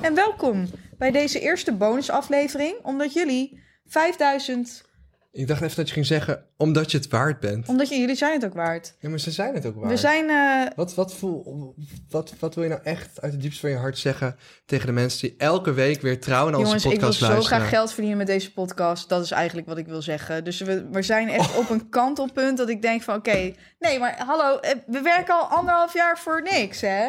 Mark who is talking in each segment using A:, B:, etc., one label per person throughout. A: en welkom bij deze eerste bonusaflevering, omdat jullie 5000,
B: Ik dacht even dat je ging zeggen, omdat je het waard bent.
A: omdat je, jullie zijn het ook waard.
B: Ja, maar ze zijn het ook waard.
A: We zijn, eh,
B: Wat, wat, voel, wat, wat wil je nou echt uit het diepst van je hart zeggen tegen de mensen die elke week weer trouw naar onze
A: jongens, ik wil
B: podcast
A: zo
B: luisteren?
A: graag geld verdienen met deze podcast. Dat is eigenlijk wat ik wil zeggen. Dus we, we zijn
B: Oh.
A: echt op een kantelpunt dat ik denk van, oké, nee, maar hallo, eh, we werken al anderhalf jaar voor niks, hè?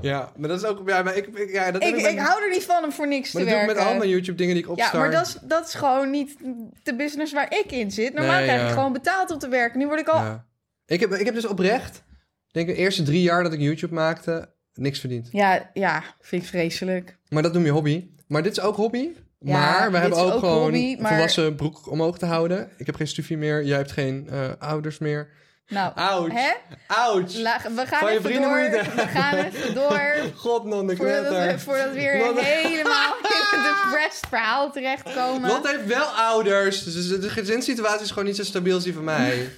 B: Ja, maar dat is ook. Ja, maar ik, ik- ja, dat
A: Ik,
B: heb
A: ik,
B: met-
A: hou er niet van om voor niks
B: Maar
A: te
B: dat doe ik
A: werken.
B: met andere YouTube-dingen die ik
A: Ja,
B: opstart.
A: maar dat is, dat is gewoon niet de business waar ik in zit. Normaal
B: Nee,
A: krijg ik
B: ja.
A: gewoon betaald om te werken. Nu word ik al... Ja,
B: Ja. Ik, heb, ik heb dus oprecht, denk ik, de eerste drie jaar dat ik YouTube maakte, niks verdiend.
A: ja, vind ik vreselijk.
B: Maar dat noem je hobby. Maar dit is ook hobby.
A: Ja,
B: maar we
A: dit
B: hebben
A: is
B: ook,
A: ook
B: gewoon
A: hobby, maar-
B: volwassen broek omhoog te houden. Ik heb geen studie meer. Jij hebt geen eh, ouders meer.
A: Nou,
B: Ouch.
A: hè?
B: Ouch!
A: La- we gaan
B: Van je
A: even
B: vrienden
A: door.
B: moet je-
A: We gaan even door.
B: God, non, ik
A: Voordat we, voordat we weer
B: Lotte-
A: helemaal in het depressed verhaal terechtkomen.
B: Lot heeft wel ouders. Dus de- de gezinssituatie is gewoon niet zo stabiel als die van mij.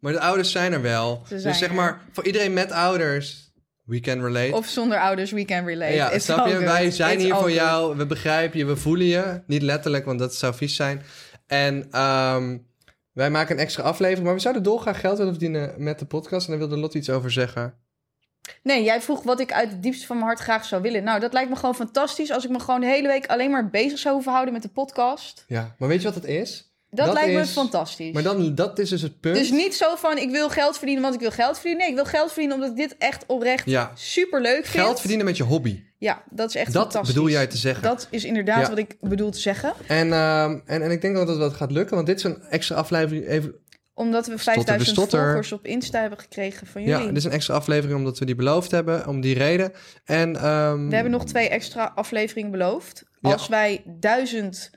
B: maar de ouders zijn er wel.
A: Ze zijn
B: dus zeg
A: er.
B: maar, voor iedereen met ouders, we can relate.
A: Of zonder ouders, we can relate.
B: ja,
A: It's
B: snap
A: all
B: je?
A: good.
B: Wij zijn
A: It's
B: hier
A: all
B: voor
A: good.
B: jou. We begrijpen je, we voelen je. Niet letterlijk, want dat zou vies zijn. En ehm, wij maken een extra aflevering. Maar we zouden dolgraag geld willen verdienen met de podcast. En daar wilde Lot iets over zeggen.
A: Nee, jij vroeg wat ik uit het diepste van mijn hart graag zou willen. Nou, dat lijkt me gewoon fantastisch als ik me gewoon de hele week alleen maar bezig zou hoeven houden met de podcast.
B: Ja, maar weet je wat het is?
A: Dat,
B: Dat
A: lijkt me
B: is-
A: fantastisch.
B: Maar dan, dat is dus het punt.
A: Dus niet zo van ik wil geld verdienen, want ik wil geld verdienen. Nee, ik wil geld verdienen omdat ik dit echt oprecht
B: Ja.
A: super leuk vind.
B: Geld verdienen met je hobby.
A: Ja, dat is echt
B: Dat
A: fantastisch.
B: bedoel jij te zeggen.
A: Dat is inderdaad
B: Ja.
A: wat ik bedoel te zeggen.
B: En, ehm, en, en ik denk dat dat wel gaat lukken, want dit is een extra aflevering. Even,
A: Omdat we
B: de
A: 5000
B: stotter.
A: volgers op Insta hebben gekregen van
B: ja, dus-
A: jullie.
B: dit is een extra aflevering omdat we die beloofd hebben, om die reden. En, ehm,
A: We hebben nog twee extra afleveringen beloofd.
B: Ja.
A: Als wij 1000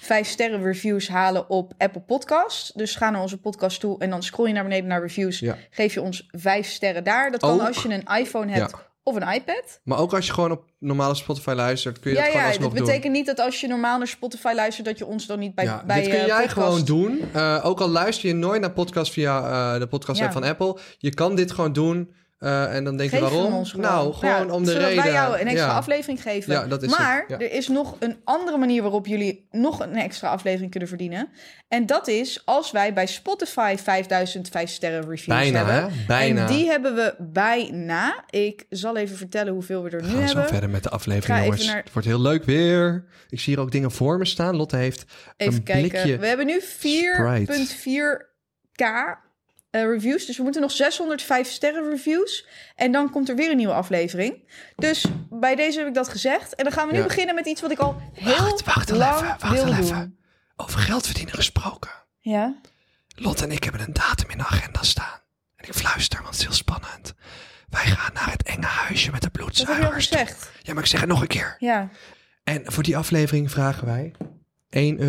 A: vijf sterren reviews halen op Apple Podcast. Dus ga naar onze podcast toe en dan scroll je naar beneden naar reviews.
B: Ja. Oh.
A: Geef je ons vijf sterren daar. Dat kan
B: Ook-
A: als je een iPhone hebt of een iPad.
B: Maar ook als je gewoon op normale Spotify luistert, kun je dat gewoon alsnog
A: dit betekent niet dat als je normaal naar Spotify luistert... dat je ons dan niet bij,
B: doen. Ja,
A: bij
B: dit kun
A: eh,
B: jij
A: podcast-
B: gewoon doen. Eh, ook al luister je nooit naar podcast via eh, de podcast app
A: Ja.
B: van Apple, je kan dit gewoon doen. Eh, en dan denk
A: Geef
B: je
A: hem
B: waarom?
A: ons gewoon.
B: Nou, gewoon
A: Ja,
B: om de
A: zodat
B: reden.
A: wij jou een extra
B: Ja.
A: aflevering geven.
B: Ja, dat is
A: maar
B: het. Ja.
A: er is nog een andere manier waarop jullie nog een extra aflevering kunnen verdienen. En dat is als wij bij Spotify 5000 5 sterren reviews
B: Bijna,
A: hebben.
B: hè? Bijna.
A: En die hebben we bijna. Ik zal even vertellen hoeveel we er nu
B: We gaan zo
A: hebben.
B: verder met de
A: Ik
B: aflevering,
A: ga even
B: jongens.
A: naar-
B: Het wordt heel leuk weer. Ik zie hier ook dingen voor me staan. Lotte heeft
A: Even
B: een
A: kijken.
B: blikje
A: We hebben nu 4.4k eh, reviews. Dus we moeten nog 605 sterren reviews. En dan komt er weer een nieuwe aflevering. Dus bij deze heb ik dat gezegd. En dan gaan we nu
B: Ja.
A: beginnen met iets wat ik al heel
B: Wacht, wacht wel
A: lang
B: even, wacht
A: wilde
B: wel
A: doen.
B: even. over geld verdienen gesproken.
A: Ja.
B: Lot en ik hebben een datum in de agenda staan. En ik fluister, want het is heel spannend. Wij gaan naar het enge huisje met de
A: Dat heb je al
B: bloedzuigers. toe.
A: gezegd.
B: Ja, maar ik zeg het nog een keer.
A: Ja.
B: En voor die aflevering vragen wij 1,99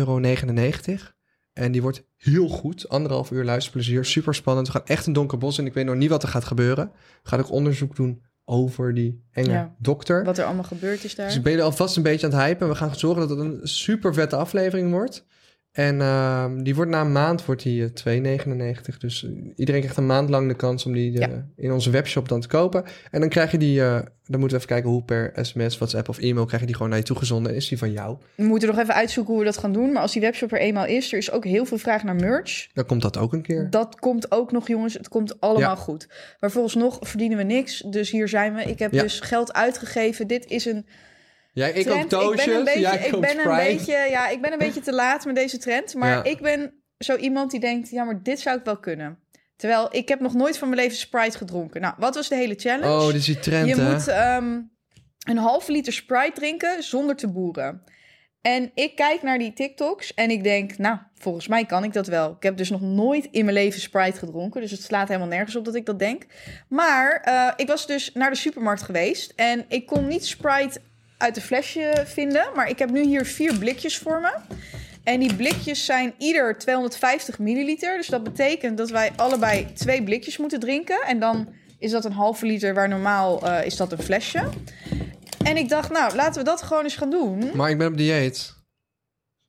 B: euro. En die wordt heel goed. Anderhalf uur luisterplezier. Super spannend. We gaan echt een donker bos in. Ik weet nog niet wat er gaat gebeuren. We gaan ook onderzoek doen over die enge
A: Ja.
B: dokter.
A: Wat er allemaal gebeurd is
B: Dus
A: daar.
B: ik ben jullie alvast een beetje aan het hypen. We gaan zorgen dat het een super vette aflevering wordt. En ehm, die wordt na een maand wordt die eh, 2,99. Dus eh, iedereen krijgt een maand lang de kans om die eh, in onze webshop dan te kopen. En dan krijg je die, eh, dan moeten we even kijken hoe per sms, whatsapp of e-mail krijg je die gewoon naar je toegezonden. En is die van jou?
A: We moeten nog even uitzoeken hoe we dat gaan doen. Maar als die webshop er eenmaal is, er is ook heel veel vraag naar merch.
B: Dan komt dat ook een keer.
A: Dat komt ook nog, jongens. Het komt allemaal
B: Ja.
A: goed. Maar vooralsnog verdienen we niks. Dus hier zijn we. Ik heb
B: Ja.
A: dus geld uitgegeven. Dit is een
B: Jij, ik ook
A: trend.
B: toosjes.
A: ik ben een beetje,
B: jij
A: ik
B: koopt
A: ben een
B: Sprite.
A: beetje, ja, ik ben een beetje te laat met deze trend. Maar
B: Ja.
A: ik ben zo iemand die denkt, ja, maar dit zou ik wel kunnen. Terwijl ik heb nog nooit van mijn leven Sprite gedronken. Nou, wat was de hele challenge?
B: Oh, dit is die trend,
A: Je
B: hè?
A: moet ehm, een halve liter Sprite drinken zonder te boeren. En ik kijk naar die TikToks en ik denk, nou, volgens mij kan ik dat wel. Ik heb dus nog nooit in mijn leven Sprite gedronken, dus het slaat helemaal nergens op dat ik dat denk. Maar eh, ik was dus naar de supermarkt geweest en ik kon niet Sprite uit de flesje vinden, maar ik heb nu hier vier blikjes voor me. En die blikjes zijn ieder 250 milliliter. Dus dat betekent dat wij allebei twee blikjes moeten drinken. En dan is dat een halve liter, waar normaal eh, is dat een flesje. En ik dacht, nou, laten we dat gewoon eens gaan doen.
B: Maar ik ben op dieet.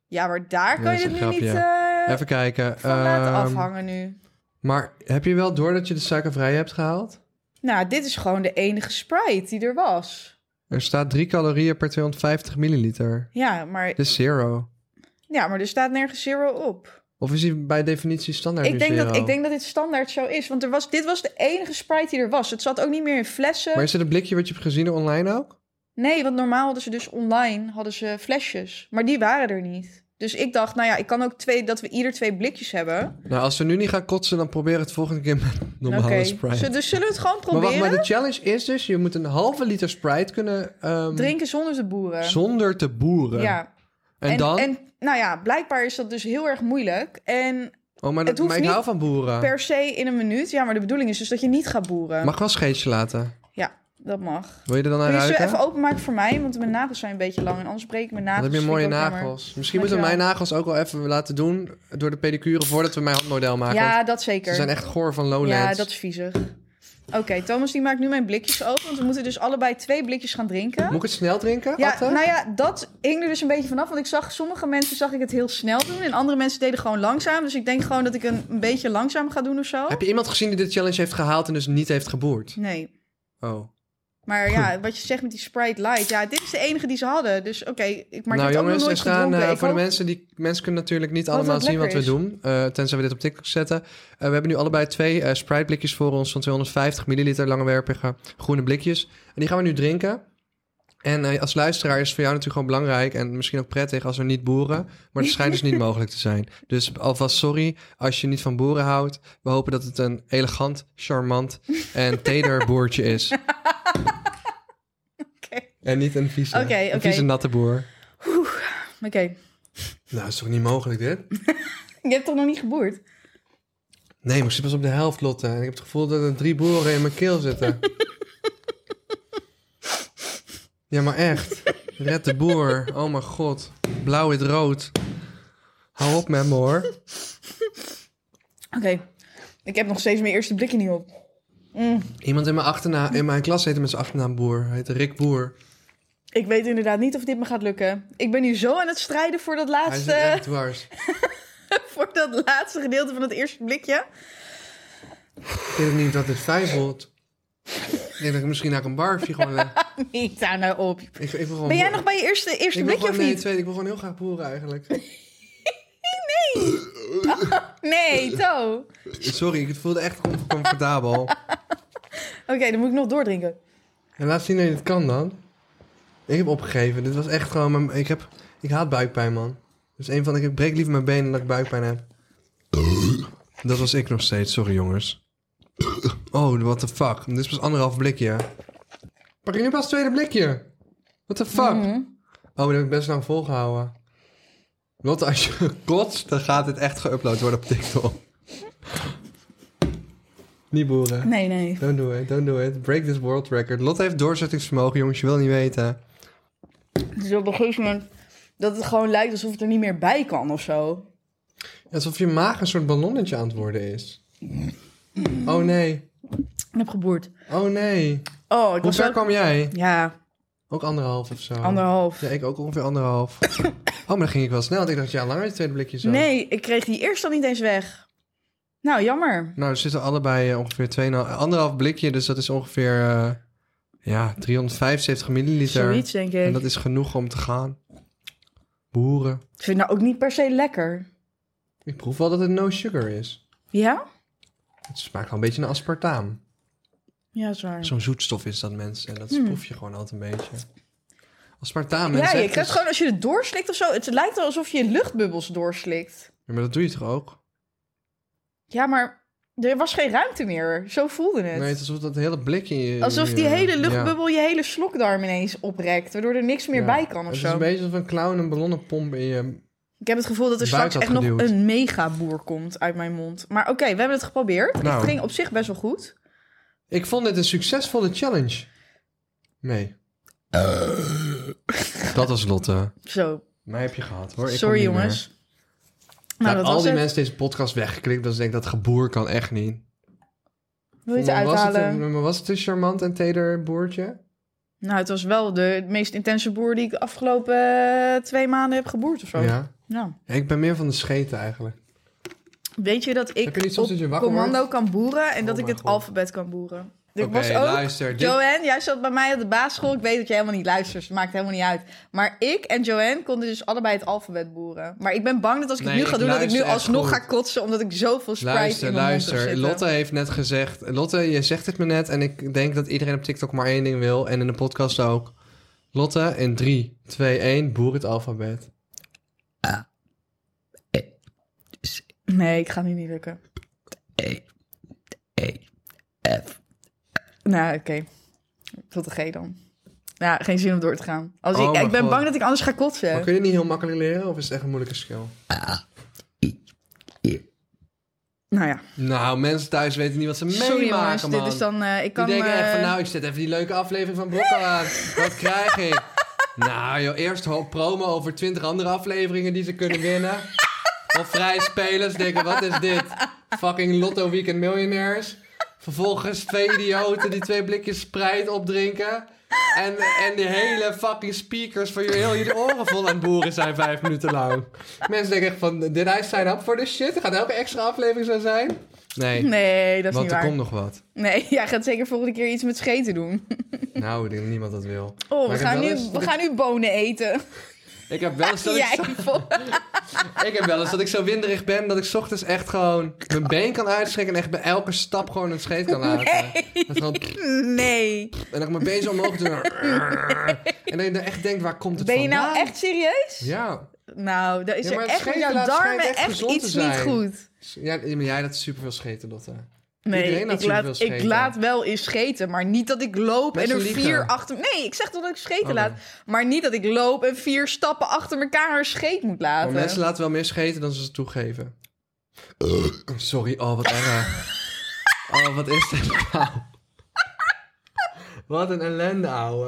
A: Ja, maar daar
B: Ja,
A: kan
B: dat is
A: je dit
B: een
A: nu niet eh,
B: Even kijken.
A: van laten
B: Ehm,
A: afhangen nu.
B: Maar heb je wel door dat je de suikervrij hebt gehaald?
A: Nou, dit is gewoon de enige Sprite die er was.
B: Er staat 3 calorieën per 250 milliliter.
A: Ja, maar,
B: Dus zero.
A: ja, maar er staat nergens zero op.
B: Of is hij bij definitie standaard nu
A: Ik denk,
B: zero?
A: dat, ik denk dat dit standaard zo is. Want er was, dit was de enige Sprite die er was. Het zat ook niet meer in flessen.
B: Maar is dit een blikje wat je hebt gezien online ook?
A: Nee, want normaal hadden ze dus online hadden ze flesjes. Maar die waren er niet. Dus ik dacht, nou ja, ik kan ook twee, dat we ieder twee blikjes hebben.
B: Nou, als we nu niet gaan kotsen, dan probeer het volgende keer met
A: Oké,
B: normale Sprite.
A: Zo, dus zullen we het gewoon
B: Maar wacht,
A: proberen?
B: maar de challenge is dus, je moet een halve liter Sprite kunnen ehm,
A: Drinken zonder te boeren.
B: zonder te boeren.
A: Ja.
B: En, dan?
A: En nou ja, blijkbaar is dat dus heel erg moeilijk. En
B: oh, maar,
A: het
B: dat,
A: hoeft
B: maar ik
A: niet
B: hou van boeren.
A: per se in een minuut. Ja, maar de bedoeling is dus dat je niet gaat boeren.
B: Mag wel scheetje laten.
A: Ja, dat mag.
B: Wil je er dan aan
A: Kun je ze
B: ruiken?
A: even openmaken voor mij? Want mijn nagels zijn een beetje lang. En anders breek ik mijn
B: Dan
A: nagels.
B: heb je
A: Vind ik
B: mooie
A: ook jammer.
B: nagels. Misschien moeten we mijn
A: Dankjewel.
B: nagels ook wel even laten doen door de pedicure voordat we mijn handmodel maken. want
A: Ja, dat zeker.
B: ze zijn echt goor van
A: ja,
B: Lowlands.
A: dat is viezig. Oké, Thomas die maakt nu mijn blikjes open. Want we moeten dus allebei twee blikjes gaan drinken.
B: Moet ik het snel drinken?
A: Ja,
B: Atte?
A: nou ja, dat hing er dus een beetje vanaf. Want ik zag sommige mensen zag ik het heel snel doen. En andere mensen deden gewoon langzaam. Dus ik denk gewoon dat ik een, een beetje langzaam ga doen of zo.
B: Heb je iemand gezien die dit challenge heeft gehaald en dus niet heeft geboerd?
A: Nee.
B: Oh.
A: Maar ja, wat je zegt met die Sprite Light. Ja, dit is de enige die ze hadden. Dus oké, ik maar
B: nou
A: dit
B: jongens,
A: ook nog
B: er
A: nooit
B: staan
A: gedronken.
B: eh,
A: Ik
B: voor de
A: hoop-
B: mensen die mensen kunnen natuurlijk niet
A: Wat
B: allemaal
A: wat
B: zien wat we
A: lekker
B: doen, eh, tenzij we dit op TikTok zetten. Eh, we hebben nu allebei twee eh Sprite blikjes voor ons van 250 milliliter langwerpige groene blikjes. En die gaan we nu drinken. En eh, als luisteraar is het voor jou natuurlijk gewoon belangrijk en misschien ook prettig als we niet boeren, maar het schijnt dus niet mogelijk te zijn. Dus alvast sorry als je niet van boeren houdt. We hopen dat het een elegant, charmant en teder boertje is. En niet een vieze,
A: Oké,
B: een
A: oké.
B: vieze natte boer.
A: Oké,
B: Nou, is toch niet mogelijk dit?
A: je hebt toch nog niet geboerd?
B: Nee, maar ik zit pas op de helft, Lotte. En ik heb het gevoel dat er drie boeren in mijn keel zitten. ja, maar echt. Red de boer. Oh mijn god. Blauw wit rood. Hou op met me hoor.
A: Oké, ik heb nog steeds mijn eerste blikje niet op. Mm,
B: Iemand in mijn, achterna in mijn klas heette met zijn achternaam Boer. Hij heette Rick Boer.
A: ik weet inderdaad niet of dit me gaat lukken. Ik ben nu zo aan het strijden voor dat
B: Hij zit
A: laatste,
B: echt dwars.
A: voor dat laatste gedeelte van het eerste blikje.
B: Ik weet ook niet dat dit fijn voelt. Ik denk dat ik misschien naar een barfje gewoon... eh,
A: Niet daar nou op.
B: Ik, ik wil gewoon
A: Ben jij
B: boer-
A: nog bij je eerste, eerste
B: ik wil
A: blikje
B: gewoon,
A: of
B: nee,
A: niet?
B: tweede. Ik wil gewoon heel graag boeren eigenlijk.
A: Nee, To. Oké,
B: Sorry, ik voelde echt oncomfortabel.
A: dan moet ik nog doordrinken.
B: En laat zien dat je het kan dan. Ik heb opgegeven. Dit was echt gewoon... Mijn, ik, heb, ik haat buikpijn, man. Dus een van... de- Ik breek liever mijn benen dan dat ik buikpijn heb. Dat was ik nog steeds. Sorry, jongens. Oh, what the fuck. Dit is pas anderhalf blikje. Pak je nu pas het tweede blikje? What the fuck? Oh, dat heb ik best lang volgehouden. Lotte, als je kotst, dan gaat dit echt geüpload worden op TikTok. Niet boeren.
A: Nee, nee.
B: Don't do it, don't do it. Break this world record. Lotte heeft doorzettingsvermogen, jongens, je wil niet weten.
A: Het is op een gegeven moment dat het gewoon lijkt alsof het er niet meer bij kan of zo.
B: Alsof je maag een soort ballonnetje aan het worden is. Oh nee,
A: Ik heb geboerd.
B: oh nee.
A: Oh, ik
B: Hoe
A: was
B: ver Oh.
A: ook...
B: kwam jij?
A: Ja,
B: Ook anderhalf of zo.
A: anderhalf.
B: Ja, ik ook ongeveer anderhalf. Oh, maar dan ging ik wel snel. want Ik dacht, ja, langer het tweede blikje zo.
A: Nee, ik kreeg die eerste al niet eens weg. Nou, jammer.
B: Nou, er zitten allebei eh, ongeveer 2,5, anderhalf blikje. Dus dat is ongeveer, eh, ja, 375 milliliter.
A: Zoiets, denk ik.
B: En dat is genoeg om te gaan. Boeren.
A: Ik vind het nou ook niet per se lekker.
B: Ik proef wel dat het no sugar is.
A: Ja?
B: Het smaakt wel een beetje naar aspartaam.
A: Ja, is waar.
B: Zo'n zoetstof is dat, mensen. En dat proef je gewoon altijd een beetje. Aspartaam,
A: Ja,
B: mensen.
A: je krijgt gewoon als je het doorslikt of zo. Het lijkt wel alsof je luchtbubbels doorslikt.
B: Ja, maar dat doe je toch ook?
A: Ja, maar er was geen ruimte meer. Zo voelde het.
B: Nee, het is alsof dat hele blik in je...
A: Alsof die
B: ja.
A: hele
B: Ja.
A: luchtbubbel je hele slokdarm ineens oprekt. Waardoor er niks meer
B: Ja.
A: bij kan of
B: Het is een
A: zo.
B: beetje alsof een clown een ballonnenpomp in je...
A: Ik heb het gevoel dat er
B: buik
A: straks echt nog
B: had geduwd.
A: een mega boer komt uit mijn mond. Maar oké, we hebben het geprobeerd.
B: Nou.
A: Het ging op zich best wel goed.
B: Ik vond dit een succesvolle challenge. Nee. Dat was Lotte.
A: Zo,
B: Mij heb je gehad, hoor. Ik kom
A: sorry
B: niet
A: jongens.
B: meer.
A: Nou,
B: Nou,
A: dat
B: al
A: was
B: die
A: het.
B: mensen deze podcast weggeklikt, dat ze denken dat geboer kan echt niet.
A: Wil je het
B: Maar was het
A: uithalen?
B: een- maar was het een charmant en teder boertje?
A: Nou, het was wel de meest intense boer die ik de afgelopen eh, twee maanden heb geboerd of zo.
B: Ja.
A: Nou,
B: Ik ben meer van de scheten eigenlijk.
A: weet je dat ik
B: Heb je niet soms
A: op
B: dat je wakker
A: commando
B: wordt?
A: kan boeren en
B: Oh
A: dat ik
B: mijn
A: het
B: God.
A: alfabet kan boeren? Ik was
B: Oké,
A: ook...
B: luister, dit-
A: Joanne, jij zat bij mij op de basisschool. Ik weet dat je helemaal niet luistert. dus Het maakt helemaal niet uit. Maar ik en Joanne konden dus allebei het alfabet boeren. Maar ik ben bang dat als ik
B: Nee,
A: het nu ga
B: ik
A: doen... dat ik nu
B: luister echt
A: alsnog
B: goed.
A: ga kotsen... omdat ik zoveel Sprite
B: Luister,
A: in mijn mond
B: luister.
A: heb
B: Lotte
A: zitten.
B: heeft net gezegd. Lotte, je zegt het me net. En ik denk dat iedereen op TikTok maar één ding wil. En in de podcast ook. Lotte, in 3, 2, 1, boer het alfabet.
A: Nee, ik ga nu niet lukken.
C: E, E, F.
A: Nou, oké. Tot de G dan. Ja, geen zin om door te gaan. Als
B: Oh
A: ik,
B: mijn
A: ik ben
B: God.
A: bang dat ik anders ga kotsen.
B: Maar kun je het niet heel makkelijk leren? Of is het echt een moeilijke skill?
A: Nou ja,
B: Nou, mensen thuis weten niet wat ze
A: sorry
B: meemaken,
A: jongens.
B: man.
A: Dit is dan... eh, ik
B: Die
A: kan...
B: denken echt van,
A: eh,
B: nou, ik zet even die leuke aflevering van Brokkel aan. Wat krijg ik? Nou joh, eerst ho- promo over 20 andere afleveringen die ze kunnen winnen. Of vrij spelers denken, wat is dit? Fucking Lotto Weekend Millionaires. Vervolgens twee idioten die twee blikjes Sprite opdrinken. En, en die hele fucking speakers van je heel je oren vol aan het boeren zijn vijf minuten lang. Mensen denken echt van, did I sign up for this shit? Gaat elke extra aflevering zo zijn? Nee,
A: Nee, dat is
B: want
A: niet
B: er
A: waar.
B: komt nog wat.
A: Nee, jij gaat zeker volgende keer iets met scheten doen.
B: Nou, ik denk dat niemand dat wil.
A: Oh,
B: Maar
A: we
B: ik
A: gaan,
B: heb
A: nu,
B: wel eens-
A: we gaan nu bonen eten.
B: Ik heb wel eens dat ik,
A: Jij
B: zo,
A: vol.
B: ik heb wel eens dat ik zo winderig ben dat ik 's ochtends echt gewoon mijn been kan uitstrekken en echt bij elke stap gewoon een scheet kan laten. Dat gewoon-
A: Nee.
B: en dat ik mijn been zo omhoog doe. En dat je dan echt denkt, waar komt het
A: Ben je
B: vandaan?
A: nou echt serieus?
B: Ja.
A: Nou, daar is
B: Ja,
A: er
B: maar het
A: echt met
B: schijnt-
A: jouw
B: laat- schijnt
A: darmen
B: echt
A: echt
B: gezond te
A: iets niet
B: zijn.
A: goed.
B: ja. Maar jij laat superveel scheten, Lotte.
A: Nee,
B: Iedereen laat
A: ik laat,
B: superveel
A: ik
B: scheten.
A: laat wel eens scheten, maar niet dat ik loop
B: Mensen
A: en er
B: liegen.
A: vier achter... Nee, ik zeg toch dat ik scheten
B: Oké.
A: laat, maar niet dat ik loop en vier stappen achter elkaar een scheet moet
B: Maar
A: laten.
B: Oh, mensen laten wel meer scheten dan ze ze toegeven. Oh, Sorry, oh wat erg. Oh, wat is dit nou? Wat een ellende, ouwe.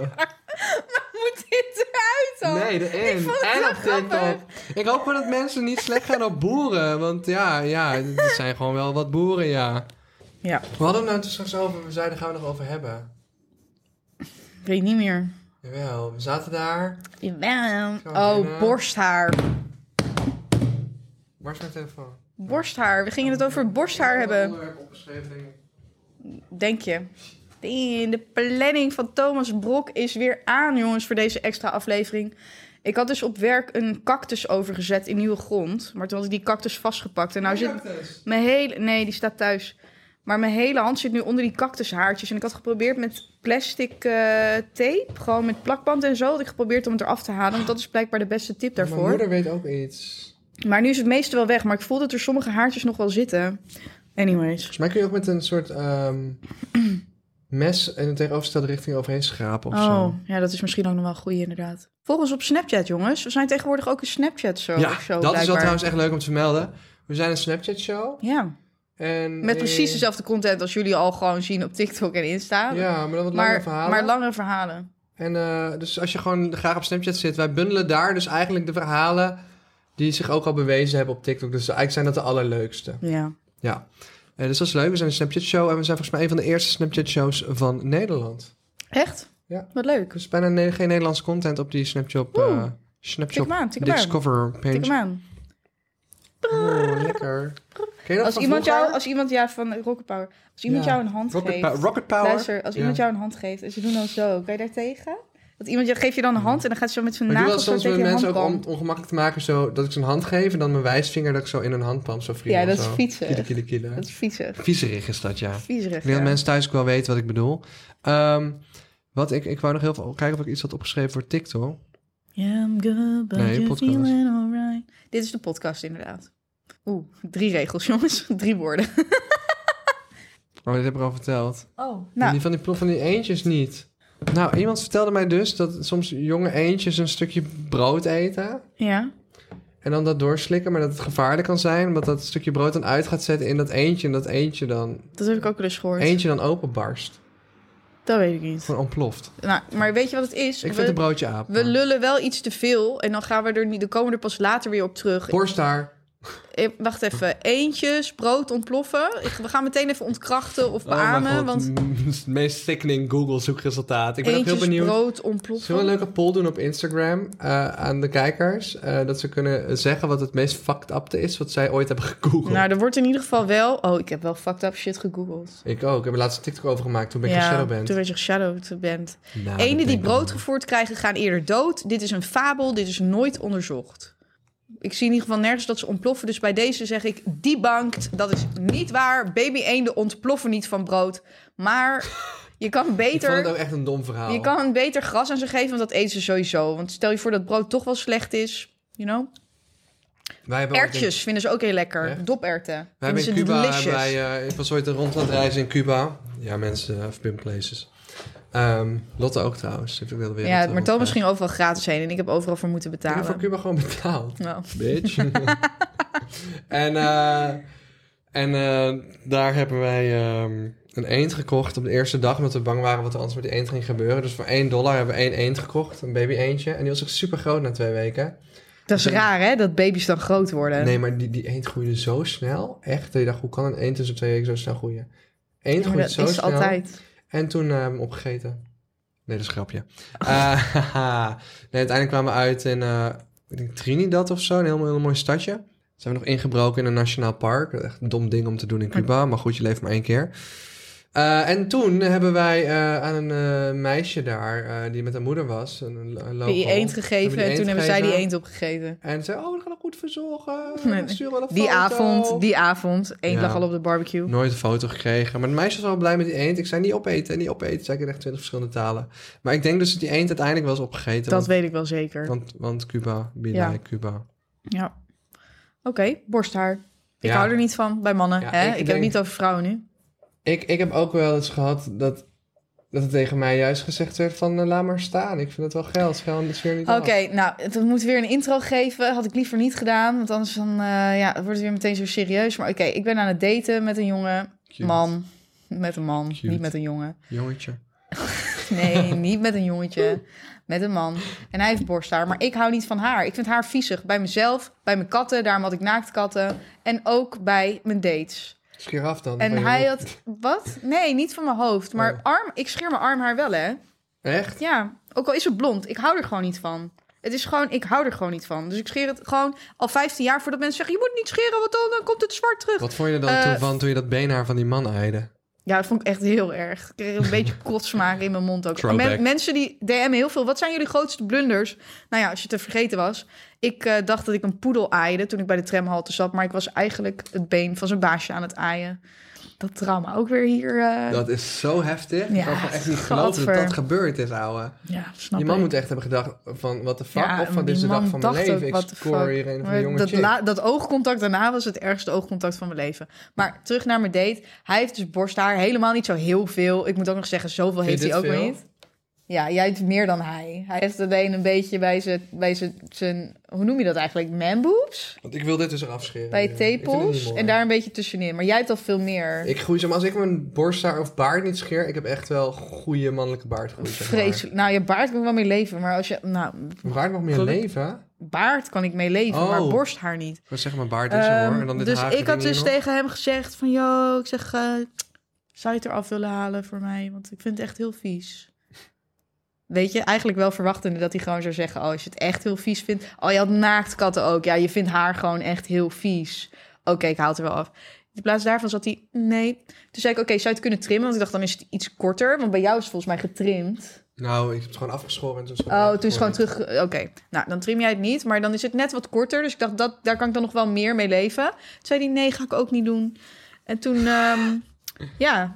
A: Moet dit eruit dan?
B: Nee, de
A: Ik
B: in.
A: vond het
B: En
A: wel
B: op
A: grappig.
B: TikTok. Ik hoop gewoon dat mensen niet slecht gaan op boeren. Want ja, ja, het zijn gewoon wel wat boeren, ja.
A: Ja,
B: We hadden het nou toen straks over, we zeiden gaan we nog over hebben.
A: ik weet niet meer.
B: Jawel, we zaten daar.
A: Jawel.
B: Zo,
A: Oh,
B: Nina.
A: borsthaar.
B: Waar is mijn telefoon?
A: Borsthaar. We gingen het over borsthaar hebben.
B: Onderwerp opgeschreven, denk ik.
A: Denk je? Ding, De planning van Thomas Brok is weer aan, jongens, voor deze extra aflevering. Ik had dus op werk een cactus overgezet in nieuwe grond. Maar toen had ik die cactus vastgepakt. En nou zit mijn hele... Nee, die staat thuis. Maar mijn hele hand zit nu onder die cactushaartjes. En ik had geprobeerd met plastic eh, tape, gewoon met plakband en zo. Had ik geprobeerd om het eraf te halen. Want dat is blijkbaar de beste tip daarvoor.
B: Mijn moeder weet ook iets.
A: Maar nu is het meeste wel weg. Maar ik voel dat er sommige haartjes nog wel zitten. Anyways.
B: Volgens mij kun je ook met een soort ehm, mes in de tegenovergestelde richting overheen schrapen of
A: Oh,
B: zo.
A: ja, dat is misschien ook nog wel een goeie inderdaad. Volgens op Snapchat, jongens. We zijn tegenwoordig ook een Snapchat show
B: ja,
A: of zo,
B: dat
A: blijkbaar.
B: is wel trouwens echt leuk om te vermelden. We zijn een Snapchat-show.
A: Ja,
B: en
A: met precies
B: eh,
A: dezelfde content als jullie al gewoon zien op TikTok en Insta.
B: Ja, maar dan wat langere
A: maar,
B: verhalen.
A: maar langere verhalen.
B: En eh, dus als je gewoon graag op Snapchat zit, wij bundelen daar dus eigenlijk de verhalen die zich ook al bewezen hebben op TikTok. Dus eigenlijk zijn dat de allerleukste.
A: Ja.
B: Ja. Eh, dus dat is leuk. We zijn een Snapchat-show en we zijn volgens mij een van de eerste Snapchat-shows van Nederland.
A: Echt?
B: Ja.
A: Wat leuk.
B: Er is bijna ne- geen Nederlandse content op die Snapchat,
A: Oeh.
B: eh
A: Tik
B: Snapchat
A: hem aan, tik hem aan.
B: Discover
A: Tik hem
B: page.
A: aan.
B: Oh, lekker. Ken je dat
A: Als
B: van
A: iemand,
B: vroeger?
A: jou, als iemand, ja, van Rocket Power. Als iemand
B: Ja.
A: jou een hand
B: Rocket,
A: geeft.
B: Pow- Rocket Power.
A: Luister, als iemand
B: Ja.
A: jou een hand geeft en ze doen dan zo, kan je daar tegen? Dat iemand je geeft je dan een hand en dan gaat ze zo met zijn
B: Maar ik doe dat
A: nagels zo
B: soms
A: tegen
B: met
A: je
B: mensen ook
A: handpalm.
B: om het ongemakkelijk te maken, zo, dat ik ze een hand geef en dan mijn wijsvinger dat ik zo in hun handpalm zo friemel.
A: Ja, dat is
B: zo.
A: viezig.
B: Kielen, kielen, kielen.
A: Dat is viezig.
B: Viezerig is dat, ja.
A: Viezerig,
B: Ik denk
A: ja.
B: dat mensen thuis ook wel weten wat ik bedoel. Ehm, wat ik, ik wou nog heel veel kijken of ik iets had opgeschreven voor TikTok.
A: Yeah, I'm good, but
B: Nee,
A: you're
B: podcast.
A: feeling alright. Dit is de podcast inderdaad. Oeh, drie regels jongens, drie woorden.
B: Oh, dit heb ik al verteld.
A: Oh,
B: Die
A: nou,
B: van die plof van die eendjes niet. Nou, iemand vertelde mij dus dat soms jonge eendjes een stukje brood eten.
A: ja.
B: En dan dat doorslikken, maar dat het gevaarlijk kan zijn. Omdat dat stukje brood dan uit gaat zetten in dat eendje. En dat eendje dan,
A: Dat heb ik ook wel eens gehoord.
B: eendje dan openbarst.
A: Dat weet ik niet.
B: Gewoon ontploft.
A: Nou, maar weet je wat het is?
B: Ik
A: we,
B: vind een broodje aap. Nou,
A: we lullen wel iets te veel en dan gaan we er niet, dan komen we er pas later weer op terug.
B: Borstaar.
A: Eh, Wacht even. Eentjes, brood ontploffen. Ik- we gaan meteen even ontkrachten of
B: oh,
A: beamen.
B: mijn god,
A: want
B: het is het meest sickening Google zoekresultaat. Ik ben ook
A: eentjes,
B: heel benieuwd.
A: brood ontploffen.
B: Zullen we een leuke poll doen op Instagram eh, aan de kijkers? eh, dat ze kunnen zeggen wat het meest fucked up is wat zij ooit hebben gegoogeld.
A: Nou, er wordt in ieder geval wel... Oh, ik heb wel fucked up shit gegoogeld.
B: Ik ook. Ik heb er laatst een TikTok over gemaakt toen ben ik Nou, ja,
A: toen werd je geshadowband. bent.
B: Ah,
A: Ene die brood gevoerd krijgen gaan eerder dood. Dit is een fabel, dit is nooit onderzocht. Ik zie in ieder geval nergens dat ze ontploffen. Dus bij deze zeg ik, die bankt, dat is niet waar. Baby eenden ontploffen niet van brood. Maar je kan
B: Ik vond
A: beter...
B: het ook echt een dom verhaal.
A: Je kan een beter gras aan ze geven, want dat eten ze sowieso. Want stel je voor dat brood toch wel slecht is, you know.
B: Wij hebben ooit in-
A: Ertjes vinden ze ook heel lekker.
B: Oh, Echt?
A: Doperten.
B: Wij
A: vinden
B: hebben
A: ze
B: in Cuba,
A: delicious.
B: hebben wij, eh, ik was ooit rond aan het reizen in Cuba. Ja, mensen, eh, of pimp places. Ehm, Lotte ook trouwens. Heeft ook wel weer eh,
A: ja, maar Thomas ging overal gratis heen en ik heb overal voor moeten
B: Ik heb voor
A: betalen.
B: Cuba gewoon betaald.
A: Nou,
B: Bitch. en eh, en eh, daar hebben wij ehm, een eend gekocht op de eerste dag. Omdat we bang waren wat er anders met die eend ging gebeuren. Dus voor 1 dollar hebben we één eend gekocht. Een baby eendje. En die was echt super groot na twee weken.
A: dat is raar, hè? Dat baby's dan groot worden.
B: Nee, maar die, die eend groeide zo snel. Echt. Dat je dacht, hoe kan een eend tussen twee weken zo snel groeien?
A: Ja, maar
B: Eend groeit
A: dat
B: zo
A: is
B: snel.
A: altijd.
B: En toen eh, hem opgegeten. Nee, dat is een grapje. Eh, haha. nee, uiteindelijk kwamen we uit in eh, ik denk Trinidad of zo. Een heel, mooi- heel mooi stadje. Zijn we nog ingebroken in een nationaal park. Echt een dom ding om te doen in Cuba. Maar goed, je leeft maar één keer. Eh, en toen hebben wij eh, aan een eh, meisje daar, eh, die met haar moeder was, een, een local,
A: Die eend
B: hebben
A: gegeven
B: die
A: en toen
B: eend
A: hebben zij die
B: gegeven.
A: eend opgegeten.
B: En zei, oh, we gaan hem goed verzorgen.
A: Nee,
B: We sturen wel een
A: Die
B: foto."
A: avond, die avond. Eend
B: Ja.
A: lag al op de barbecue.
B: Nooit een foto gekregen. Maar het meisje was wel blij met die eend. Ik zei niet opeten, niet opeten. Zei ik in echt twintig verschillende talen. Maar ik denk dus dat die eend uiteindelijk wel is opgegeten.
A: Dat
B: want,
A: weet ik wel zeker.
B: want, want Cuba, be
A: Ja.
B: like Cuba.
A: Ja. Oké, borsthaar. Ik
B: Ja.
A: hou er niet van bij mannen.
B: Ja,
A: hè?
B: ik
A: Ik, heb
B: denk-
A: het niet over vrouwen nu.
B: Ik, ik heb ook wel eens gehad dat, dat het tegen mij juist gezegd werd van... eh, laat maar staan, ik vind het wel geld. Schel hem de sfeer niet
A: Oké,
B: af.
A: nou, het het moet weer een intro geven. Had ik liever niet gedaan, want anders dan, eh, ja, het wordt het weer meteen zo serieus. Maar oké, ik ben aan het daten met een jongen.
B: Cute.
A: Man. Met een man,
B: Cute.
A: niet met een jongen.
B: Jongetje.
A: Nee, niet met een jongetje. Met een man. En hij heeft borsthaar, maar ik hou niet van haar. Ik vind haar viezig. Bij mezelf, bij mijn katten, daarom had ik naaktkatten. En ook bij mijn dates.
B: Scheer af dan.
A: En
B: van je
A: hij
B: hoofd.
A: had... Wat? Nee, niet van mijn hoofd. Maar
B: Oh.
A: arm, ik scheer mijn armhaar wel, hè.
B: Echt?
A: Ja, ook al is het blond, ik hou er gewoon niet van. Het is gewoon, ik hou er gewoon niet van. Dus ik scheer het gewoon al 15 jaar voordat mensen zeggen: je moet niet scheren, want dan, dan komt het zwart terug.
B: Wat vond je er dan
A: Eh,
B: toe van toen je dat beenhaar van die man eide?
A: Ja, dat vond ik echt heel erg. Ik kreeg een beetje kotsmaak in mijn mond ook.
B: Throwback.
A: Men- mensen die DM'en heel veel. Wat zijn jullie grootste blunders? Nou ja, als je het er vergeten was. Ik eh, dacht dat ik een poedel aaide toen ik bij de tramhalte zat. Maar ik was eigenlijk het been van zijn baasje aan het aaien. Dat trauma ook weer hier. eh,
B: Dat is zo heftig.
A: Ja,
B: ik kan gewoon echt niet geloven dat
A: gadver.
B: dat gebeurd is, ouwe.
A: ja, snap
B: Je man
A: ik.
B: moet echt hebben gedacht van wat de fuck
A: Ja,
B: of van
A: die
B: dit is de dag
A: man
B: van mijn
A: dacht
B: leven.
A: ook,
B: Ik
A: what the
B: score
A: fuck.
B: hier een of
A: Maar
B: een jonge
A: dat,
B: chick.
A: la- dat oogcontact daarna was het ergste oogcontact van mijn leven. Maar terug naar mijn date. Hij heeft dus borsthaar. Helemaal niet zo heel veel. Ik moet ook nog zeggen, zoveel
B: Vind
A: heeft
B: je
A: hij ook
B: dit
A: weer
B: veel?
A: niet. Ja, jij hebt meer dan hij. Hij heeft alleen een beetje bij zijn, bij zijn, zijn hoe noem je dat eigenlijk? Manboobs?
B: Want ik wil dit dus eraf scheren.
A: Bij
B: Ja, ik vind het niet
A: tepels.
B: mooi.
A: En daar een beetje tussenin. Maar jij hebt al veel meer.
B: Ik groei zo, maar als ik mijn borsthaar of baard niet scheer, ik heb echt wel goede mannelijke baardgroei. zeg maar.
A: Vreselijk. Nou, je baard kan ik wel mee leven. Maar als je, nou,
B: Mijn baard mag meer
A: Geluk-
B: leven.
A: baard kan ik mee leven.
B: Oh.
A: Maar borsthaar niet.
B: Ik wil zeggen, mijn baard is er
A: Ehm,
B: hoor. En dan dit
A: dus
B: hage
A: ik had
B: ding
A: dus
B: hier nog.
A: tegen hem gezegd van... Yo, ik zeg, eh, zou je het eraf willen halen voor mij? Want ik vind het echt heel vies. Weet je, eigenlijk wel verwachtende dat hij gewoon zou zeggen... Oh, als je het echt heel vies vindt... Oh, je had naaktkatten ook. Ja, je vindt haar gewoon echt heel vies. Oké, ik haal het er wel af. In plaats daarvan zat hij, nee. Toen zei ik, oké, zou je het kunnen trimmen? Want ik dacht, dan is het iets korter. Want bij jou is het volgens mij getrimd.
B: Nou, ik heb het gewoon afgeschoren en toen is het
A: Oh,
B: gewoon
A: toen is gewoon
B: afgeschoren.
A: terug. Oké, nou dan trim jij het niet, maar dan is het net wat korter. Dus ik dacht, dat, daar kan ik dan nog wel meer mee leven. Toen zei hij, nee, ga ik ook niet doen. En toen, ehm, ja,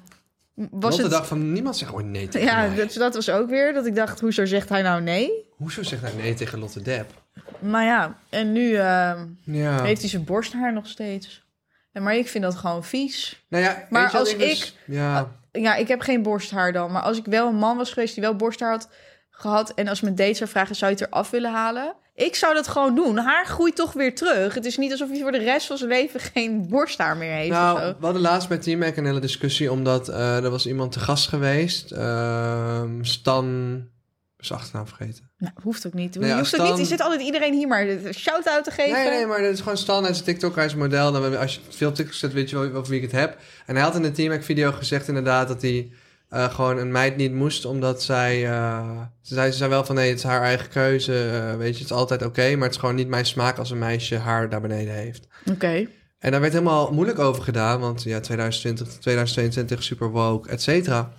A: was
B: Want de
A: het.
B: dag van niemand zegt ooit nee tegen
A: Ja,
B: mij.
A: dat, dat was ook weer dat ik dacht, hoezo zegt hij nou nee?
B: Hoezo zegt hij nee tegen Lotte Depp?
A: Maar ja, en nu ehm,
B: Ja.
A: heeft hij zijn borsthaar nog steeds. En maar ik vind dat gewoon vies.
B: Nou ja,
A: Maar
B: weet je wat
A: als Ah,
B: dus- Ja,
A: Ja, ik heb geen borsthaar dan. Maar als ik wel een man was geweest die wel borsthaar had gehad... en als mijn date zou vragen, zou je het eraf willen halen? Ik zou dat gewoon doen. Haar groeit toch weer terug. Het is niet alsof hij voor de rest van zijn leven geen borsthaar meer heeft.
B: Nou,
A: of zo.
B: we hadden laatst met Team Mac een hele discussie, omdat eh, er was iemand te gast geweest. ehm, Stan zijn achternaam vergeten.
A: Nou, hoeft ook niet. Je,
B: Nee, als
A: hoeft ook
B: dan-
A: niet. je zit altijd iedereen hier maar een shout-out te geven.
B: Nee, nee, maar dat is gewoon standaard zijn TikTok. Hij is een model. Dan, als je veel TikToks zet, weet je wel over wie ik het heb. En hij had in de Team video gezegd inderdaad dat hij eh, gewoon een meid niet moest. Omdat zij... eh, ze, zei, ze zei wel van nee, het is haar eigen keuze. eh, weet je, het is altijd oké. maar het is gewoon niet mijn smaak als een meisje haar daar beneden heeft.
A: Oké.
B: En daar werd helemaal moeilijk over gedaan, want ja, 2020, 2022, super woke, et cetera.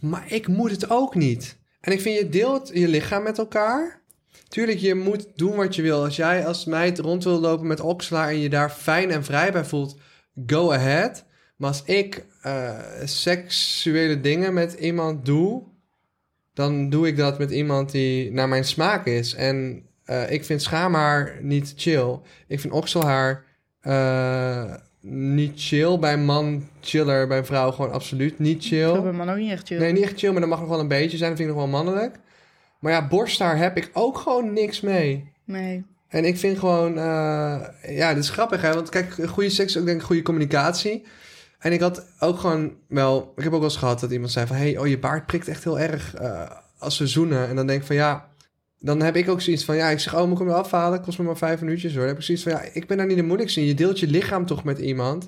B: Maar ik moet het ook niet. En ik vind, je deelt je lichaam met elkaar. Tuurlijk, je moet doen wat je wil. Als jij als meid rond wil lopen met okselaar en je daar fijn en vrij bij voelt, go ahead. Maar als ik eh, seksuele dingen met iemand doe, dan doe ik dat met iemand die naar mijn smaak is. En eh, ik vind schaamhaar niet chill. Ik vind okselhaar eh, niet chill. Bij een man chiller, bij een vrouw gewoon absoluut niet
A: Ik
B: chill.
A: heb hem ook niet echt chill.
B: Nee, niet echt chill, maar dat mag nog wel een beetje zijn. Dat vind ik nog wel mannelijk. Maar ja, borsthaar heb ik ook gewoon niks mee.
A: Nee.
B: En ik vind gewoon... eh, ja, dat is grappig, hè. Want kijk, goede seks is ook denk ik goede communicatie. En ik had ook gewoon wel... Ik heb ook wel eens gehad dat iemand zei van... hey, oh, je baard prikt echt heel erg eh, als we zoenen. En dan denk ik van, ja... Dan heb ik ook zoiets van, ja, ik zeg, oh, moet ik hem wel afhalen? Kost me maar vijf minuutjes, hoor. Dan heb ik zoiets van, ja, ik ben daar niet de moeilijkste in. Je deelt je lichaam toch met iemand?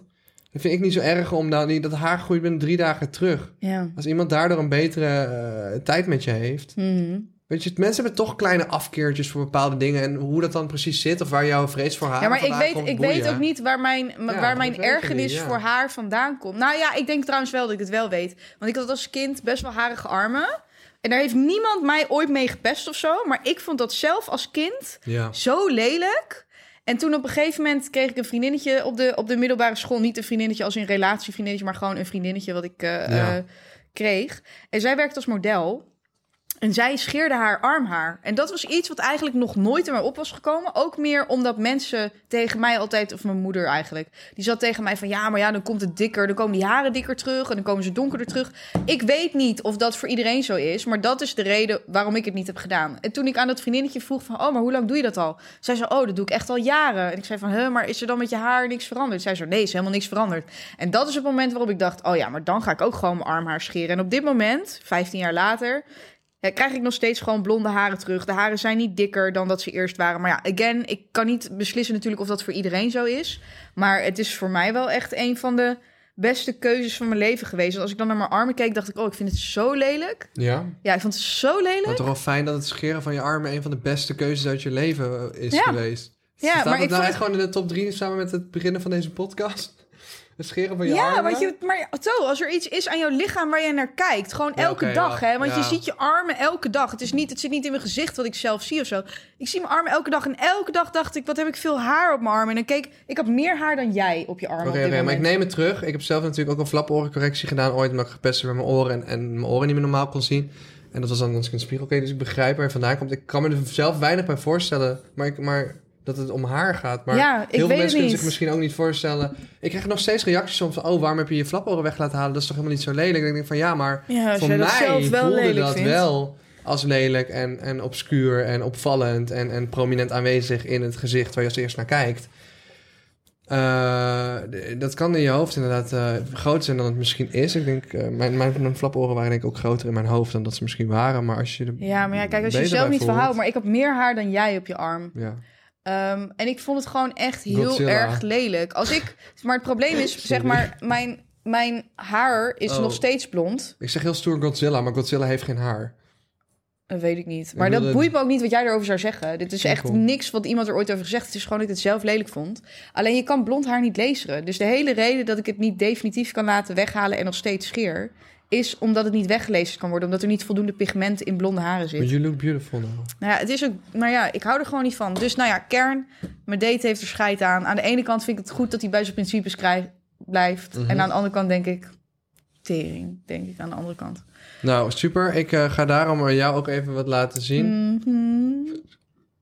B: Dat vind ik niet zo erg om dan... Dat haar groeit binnen drie dagen terug.
A: Ja.
B: Als iemand daardoor een betere eh, tijd met je heeft.
A: Mhm.
B: Weet je, mensen hebben toch kleine afkeertjes voor bepaalde dingen. En hoe dat dan precies zit of waar jouw vrees voor haar
A: Ja, maar ik
B: vandaan
A: weet,
B: komt,
A: ik
B: boeien.
A: weet ook niet waar mijn,
B: Ja,
A: waar
B: dat
A: mijn
B: weet je
A: ergernis
B: niet, ja.
A: voor haar vandaan komt. Nou ja, ik denk trouwens wel dat ik het wel weet. Want ik had als kind best wel harige armen. En daar heeft niemand mij ooit mee gepest of zo. Maar ik vond dat zelf als kind
B: Ja.
A: zo lelijk. En toen op een gegeven moment kreeg ik een vriendinnetje op de, op de middelbare school. Niet een vriendinnetje als in relatievriendinnetje, maar gewoon een vriendinnetje wat ik eh,
B: Ja.
A: eh, kreeg. En zij werkte als model. En zij scheerde haar armhaar. En dat was iets wat eigenlijk nog nooit in mij op was gekomen. Ook meer omdat mensen tegen mij altijd, of mijn moeder eigenlijk, die zat tegen mij van ja, maar ja, dan komt het dikker, dan komen die haren dikker terug en dan komen ze donkerder terug. Ik weet niet of dat voor iedereen zo is, maar dat is de reden waarom ik het niet heb gedaan. En toen ik aan dat vriendinnetje vroeg van oh, maar hoe lang doe je dat al? Zij zei oh, dat doe ik echt al jaren. En ik zei van huh, maar is er dan met je haar niks veranderd? Zij zei nee, is helemaal niks veranderd. En dat is het moment waarop ik dacht oh ja, maar dan ga ik ook gewoon mijn armhaar scheren. En op dit moment, 15 jaar later, ja, krijg ik nog steeds gewoon blonde haren terug. De haren zijn niet dikker dan dat ze eerst waren. Maar ja, again, ik kan niet beslissen natuurlijk of dat voor iedereen zo is. Maar het is voor mij wel echt een van de beste keuzes van mijn leven geweest. Want als ik dan naar mijn armen keek, dacht ik... oh, ik vind het zo lelijk.
B: Ja.
A: Ja, ik vond het zo lelijk.
B: Maar toch wel fijn dat het scheren van je armen een van de beste keuzes uit je leven eh, is
A: Ja.
B: geweest.
A: Ja,
B: Staat
A: maar
B: dat
A: ik
B: nou
A: vond
B: echt gewoon in de top drie samen met het beginnen van deze podcast? Het scheren van je armen?
A: Ja, want je, maar zo, als er iets is aan jouw lichaam waar je naar kijkt, gewoon
B: Ja,
A: elke
B: oké,
A: dag,
B: ja,
A: hè? Want je
B: ja.
A: ziet je armen elke dag. Het, is niet, het zit niet in mijn gezicht wat ik zelf zie of zo. Ik zie mijn armen elke dag en elke dag dacht ik, wat heb ik veel haar op mijn armen? En dan keek ik, had meer haar dan jij op je armen.
B: Oké,
A: op dit
B: oké, maar ik
A: moment.
B: neem het terug. Ik heb zelf natuurlijk ook een flaporencorrectie gedaan ooit... omdat ik gepest werd met mijn oren en, en mijn oren niet meer normaal kon zien. En dat was dan als ik in de spiegel keek, dus ik begrijp waar je vandaan komt. Ik kan me er zelf weinig bij voorstellen, maar, ik, maar dat het om haar gaat. Maar
A: Ja, ik
B: heel
A: weet
B: veel
A: het
B: mensen kunnen
A: niet.
B: zich misschien ook niet voorstellen. Ik krijg nog steeds reacties soms van... oh, waarom heb je je flaporen weg laten halen? Dat is toch helemaal niet zo lelijk? En ik denk van, ja, maar
A: Ja, als
B: voor
A: jij
B: mij
A: dat zelf wel
B: voelde
A: lelijk
B: dat
A: vindt.
B: wel als lelijk en, en obscuur en opvallend... En, en prominent aanwezig in het gezicht waar je als eerst naar kijkt. Eh, d- dat kan in je hoofd inderdaad eh, groter zijn dan het misschien is. Ik denk, eh, mijn, mijn, mijn flaporen waren denk ik ook groter in mijn hoofd dan dat ze misschien waren. Maar als je er
A: Ja, maar ja, kijk, als je
B: beter
A: jezelf
B: bij
A: niet
B: voelt-
A: verhoudt, maar ik had meer haar dan jij op je arm.
B: Ja.
A: Ehm, en ik vond het gewoon echt heel
B: Godzilla.
A: erg lelijk. Als ik, maar het probleem is, zeg maar, mijn, mijn haar is
B: Oh.
A: nog steeds blond.
B: Ik zeg heel stoer Godzilla, maar Godzilla heeft geen haar.
A: Dat weet ik niet. Maar dat
B: wilde-
A: boeit me ook niet wat jij erover zou zeggen. Dit is echt
B: Cool.
A: niks wat iemand er ooit over gezegd. heeft. Het is gewoon dat ik het zelf lelijk vond. Alleen je kan blond haar niet lezen. Dus de hele reden dat ik het niet definitief kan laten weghalen en nog steeds scheer... is omdat het niet weggelezen kan worden. Omdat er niet voldoende pigment in blonde haren zit.
B: But you look beautiful now.
A: Nou ja, het is ook, maar ja, ik hou er gewoon niet van. Dus nou ja, kern, mijn date heeft er scheid aan. Aan de ene kant vind ik het goed dat hij bij zijn principes krijg- blijft.
B: Mhm.
A: En aan de andere kant denk ik, tering, denk ik aan de andere kant.
B: Nou, super. Ik eh, ga daarom eh, jou ook even wat laten zien.
A: Mhm.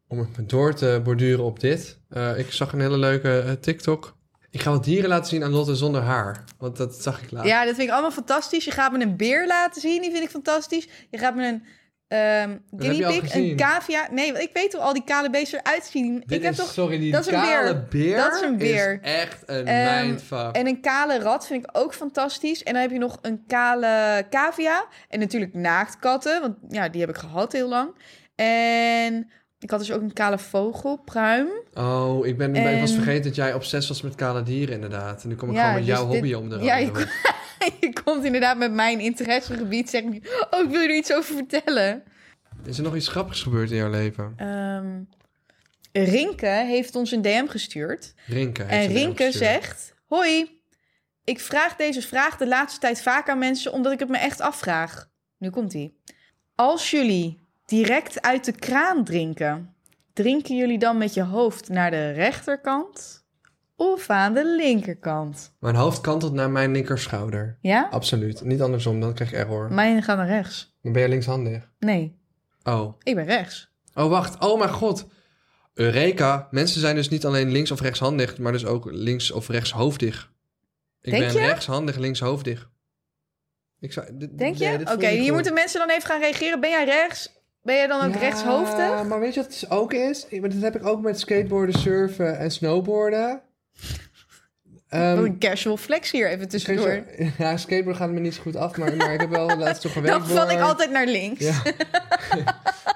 B: Om het door te borduren op dit. Eh, ik zag een hele leuke eh, TikTok. Ik ga wat dieren laten zien aan Lotte zonder haar. Want dat zag ik laatst.
A: Ja, dat vind ik allemaal fantastisch. Je gaat me een beer laten zien, die vind ik fantastisch. Je gaat me een ehm
B: heb je
A: guinea
B: al
A: pig, een
B: gezien.
A: cavia. Nee, want ik weet hoe al die kale beesten eruit zien.
B: Dit
A: ik heb
B: is,
A: toch...
B: sorry, die
A: dat is een
B: kale
A: beer.
B: beer
A: Dat is een beer.
B: echt een
A: Ehm,
B: mindfuck.
A: En een kale rat vind ik ook fantastisch. En dan heb je nog een kale cavia. En natuurlijk naaktkatten, want ja, die heb ik gehad heel lang. En ik had dus ook een kale vogel, pruim.
B: Oh, ik, ben, ik was
A: en-
B: vergeten dat jij obsessief was met kale dieren inderdaad. En nu kom ik
A: ehm, Ja,
B: gewoon met
A: dus
B: jouw
A: dit-
B: hobby om de
A: Ja,
B: rand.
A: je je komt inderdaad met mijn interessegebied. Zeg nu, oh, ik wil je er iets over vertellen.
B: Is er nog iets grappigs gebeurd in jouw leven?
A: Ehm, Rinke heeft ons een DM gestuurd.
B: Rinke. heeft
A: en
B: ze weer
A: Rinke
B: opgestuurd.
A: zegt: Hoi, ik vraag deze vraag de laatste tijd vaak aan mensen omdat ik het me echt afvraag. Nu komt ie. Als jullie direct uit de kraan drinken, drinken jullie dan met je hoofd naar de rechterkant of aan de linkerkant?
B: Mijn hoofd kantelt naar mijn linkerschouder.
A: Ja?
B: Absoluut. Niet andersom, dan krijg ik error.
A: Mijn gaat naar rechts.
B: Dan ben je linkshandig.
A: Nee,
B: Oh.
A: ik ben rechts.
B: Oh, wacht. Oh, mijn god. Eureka. Mensen zijn dus niet alleen links of rechtshandig, maar dus ook links of rechtshoofdig. Ik
A: Denk
B: ben
A: je?
B: rechtshandig, linkshoofdig. Ik zou, dit-
A: Denk je?
B: nee, dit
A: Oké,
B: voelt niet
A: hier
B: goed.
A: moeten mensen dan even gaan reageren. Ben jij rechts? Ben jij dan ook
B: Ja,
A: rechtshoofdig?
B: Maar weet je wat het dus ook is? Ik- maar Dat heb ik ook met skateboarden, surfen en snowboarden. Ehm,
A: Wat een Oh, casual flex hier even tussendoor.
B: skate- Ja, skateboarden gaat me niet zo goed af, maar, maar ik heb wel laatst toch gewerkt.
A: Dan val ik
B: door-
A: altijd naar links.
B: Ja.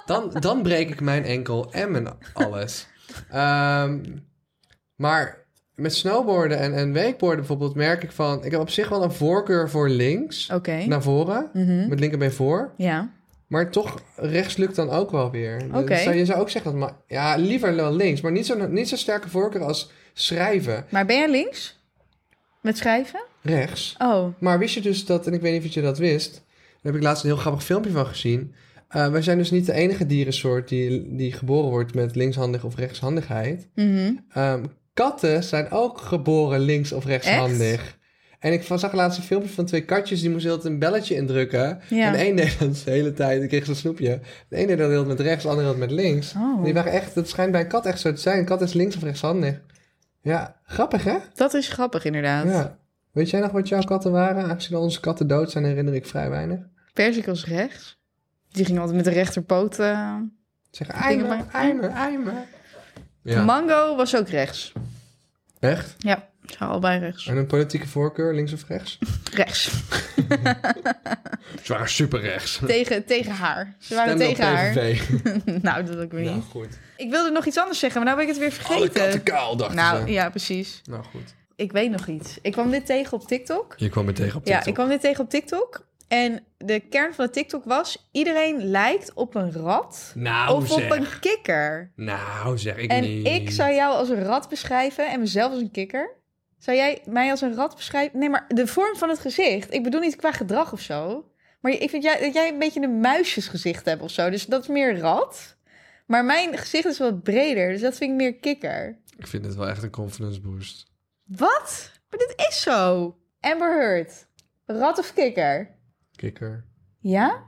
B: dan, dan breek ik mijn enkel en mijn alles. Ehm, maar met snowboarden en, en wakeboarden bijvoorbeeld merk ik van... Ik heb op zich wel een voorkeur voor links,
A: Oké. Mhm. Hm?
B: naar voren. Met linkerbeen voor.
A: Ja.
B: Maar toch, rechts lukt dan ook wel weer. Dus
A: Oké.
B: zou- je zou ook zeggen, dat, maar, ja, liever wel links. Maar niet zo'n niet zo sterke voorkeur als schrijven
A: Maar ben jij links? Met schrijven?
B: rechts.
A: Oh.
B: Maar wist je dus dat, en ik weet niet of je dat wist, daar heb ik laatst een heel grappig filmpje van gezien. Eh, wij zijn dus niet de enige dierensoort die, die geboren wordt met linkshandig of rechtshandigheid.
A: Mhm.
B: Ehm, katten zijn ook geboren links of rechtshandig. En ik zag laatst een filmpje van twee katjes, die moesten altijd een belletje indrukken.
A: Ja.
B: En één deed dat de hele tijd, ik kreeg zo'n snoepje. De ene deed dat heel met rechts, de andere deed dat met links.
A: Oh.
B: En Die waren echt, dat schijnt bij een kat echt zo te zijn. Een kat is links of rechtshandig. Ja, grappig hè?
A: Dat is grappig inderdaad.
B: Ja. Weet jij nog wat jouw katten waren? Aangezien al onze katten dood zijn, herinner ik vrij weinig.
A: Perzik was rechts. Die ging altijd met de rechterpoot. eh.
B: Zeg,
A: Dingen
B: eimer,
A: van-
B: eimer, eimer. Ja,
A: Mango was ook rechts.
B: echt?
A: Ja, ze waren allebei rechts.
B: En een politieke voorkeur, links of rechts?
A: Rechts.
B: Ze waren super rechts.
A: tegen, tegen haar. Ze waren tegen haar. nou, dat ook weer
B: Nou
A: niet.
B: goed.
A: Ik wilde nog iets anders zeggen, maar nou ben ik het weer
B: Alle katten
A: vergeten.
B: kaal, dachten
A: Nou,
B: ze.
A: ja, precies.
B: Nou goed.
A: Ik weet nog iets. Ik kwam dit tegen op TikTok.
B: Je kwam me tegen op
A: Ja, ik kwam dit tegen op TikTok. En de kern van de TikTok was... iedereen lijkt op een rat
B: Nou
A: of op een kikker.
B: Nou zeg, ik
A: En ik zou jou als een rat beschrijven en mezelf als een kikker. Zou jij mij als een rat beschrijven? Nee, maar de vorm van het gezicht. Ik bedoel niet qua gedrag of zo. Maar ik vind jij, dat jij een beetje een muisjesgezicht hebt of zo. Dus dat is meer rat. Maar mijn gezicht is wat breder. Dus dat vind ik meer kikker.
B: Ik vind het wel echt een confidence boost.
A: Wat? Maar dit is zo. Amber Heard. Rat of kikker?
B: Kikker.
A: Ja?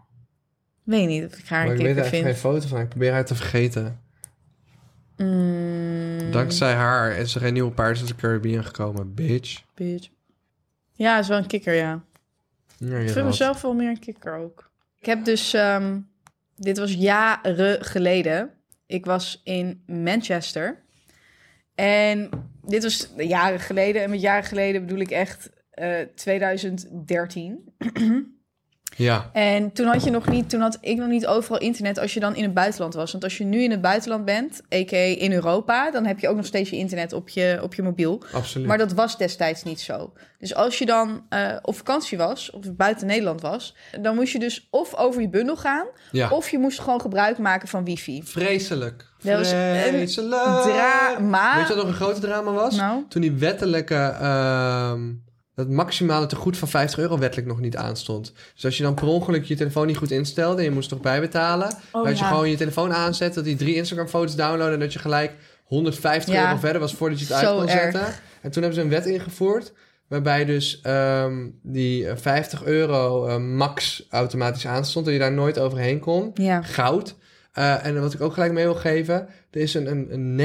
A: Weet niet of ik haar
B: Maar
A: een
B: ik weet
A: kikker
B: er
A: vind.
B: echt geen foto van. Ik probeer haar te vergeten.
A: Mm,
B: Dankzij haar is er geen nieuwe paard uit de Caribbean gekomen, bitch.
A: bitch. Ja, is wel een kikker, ja.
B: Ja,
A: Ik vind mezelf wel meer een kikker ook. Ik heb dus... ehm, dit was jaren geleden. Ik was in Manchester. En dit was jaren geleden. En met jaren geleden bedoel ik echt eh, 2013.
B: Ja,
A: En toen had je nog niet, toen had ik nog niet overal internet als je dan in het buitenland was. Want als je nu in het buitenland bent, a.k.a. in Europa, dan heb je ook nog steeds je internet op je, op je mobiel.
B: absoluut.
A: Maar dat was destijds niet zo. Dus als je dan eh, op vakantie was, of buiten Nederland was, dan moest je dus of over je bundel gaan,
B: ja.
A: of je moest gewoon gebruik maken van wifi.
B: Vreselijk.
A: Dat was een
B: Vreselijk.
A: Drama.
B: Eh, Weet je wat nog een grote drama was?
A: Nou,
B: Toen die wettelijke... ehm dat maximale tegoed van 50 euro wettelijk nog niet aanstond. Dus als je dan per ongeluk je telefoon niet goed instelde... en je moest nog bijbetalen...
A: Oh,
B: dan had je
A: ja.
B: gewoon je telefoon aanzet... dat die drie Instagram-foto's downloaden... en dat je gelijk 150
A: Ja.
B: euro verder was voordat je het uit
A: Zo
B: kon
A: erg.
B: zetten. En toen hebben ze een wet ingevoerd... waarbij dus ehm, die eh, 50 euro eh, max automatisch aanstond... dat je daar nooit overheen kon
A: ja.
B: goud. Eh, en wat ik ook gelijk mee wil geven, er is een, een, een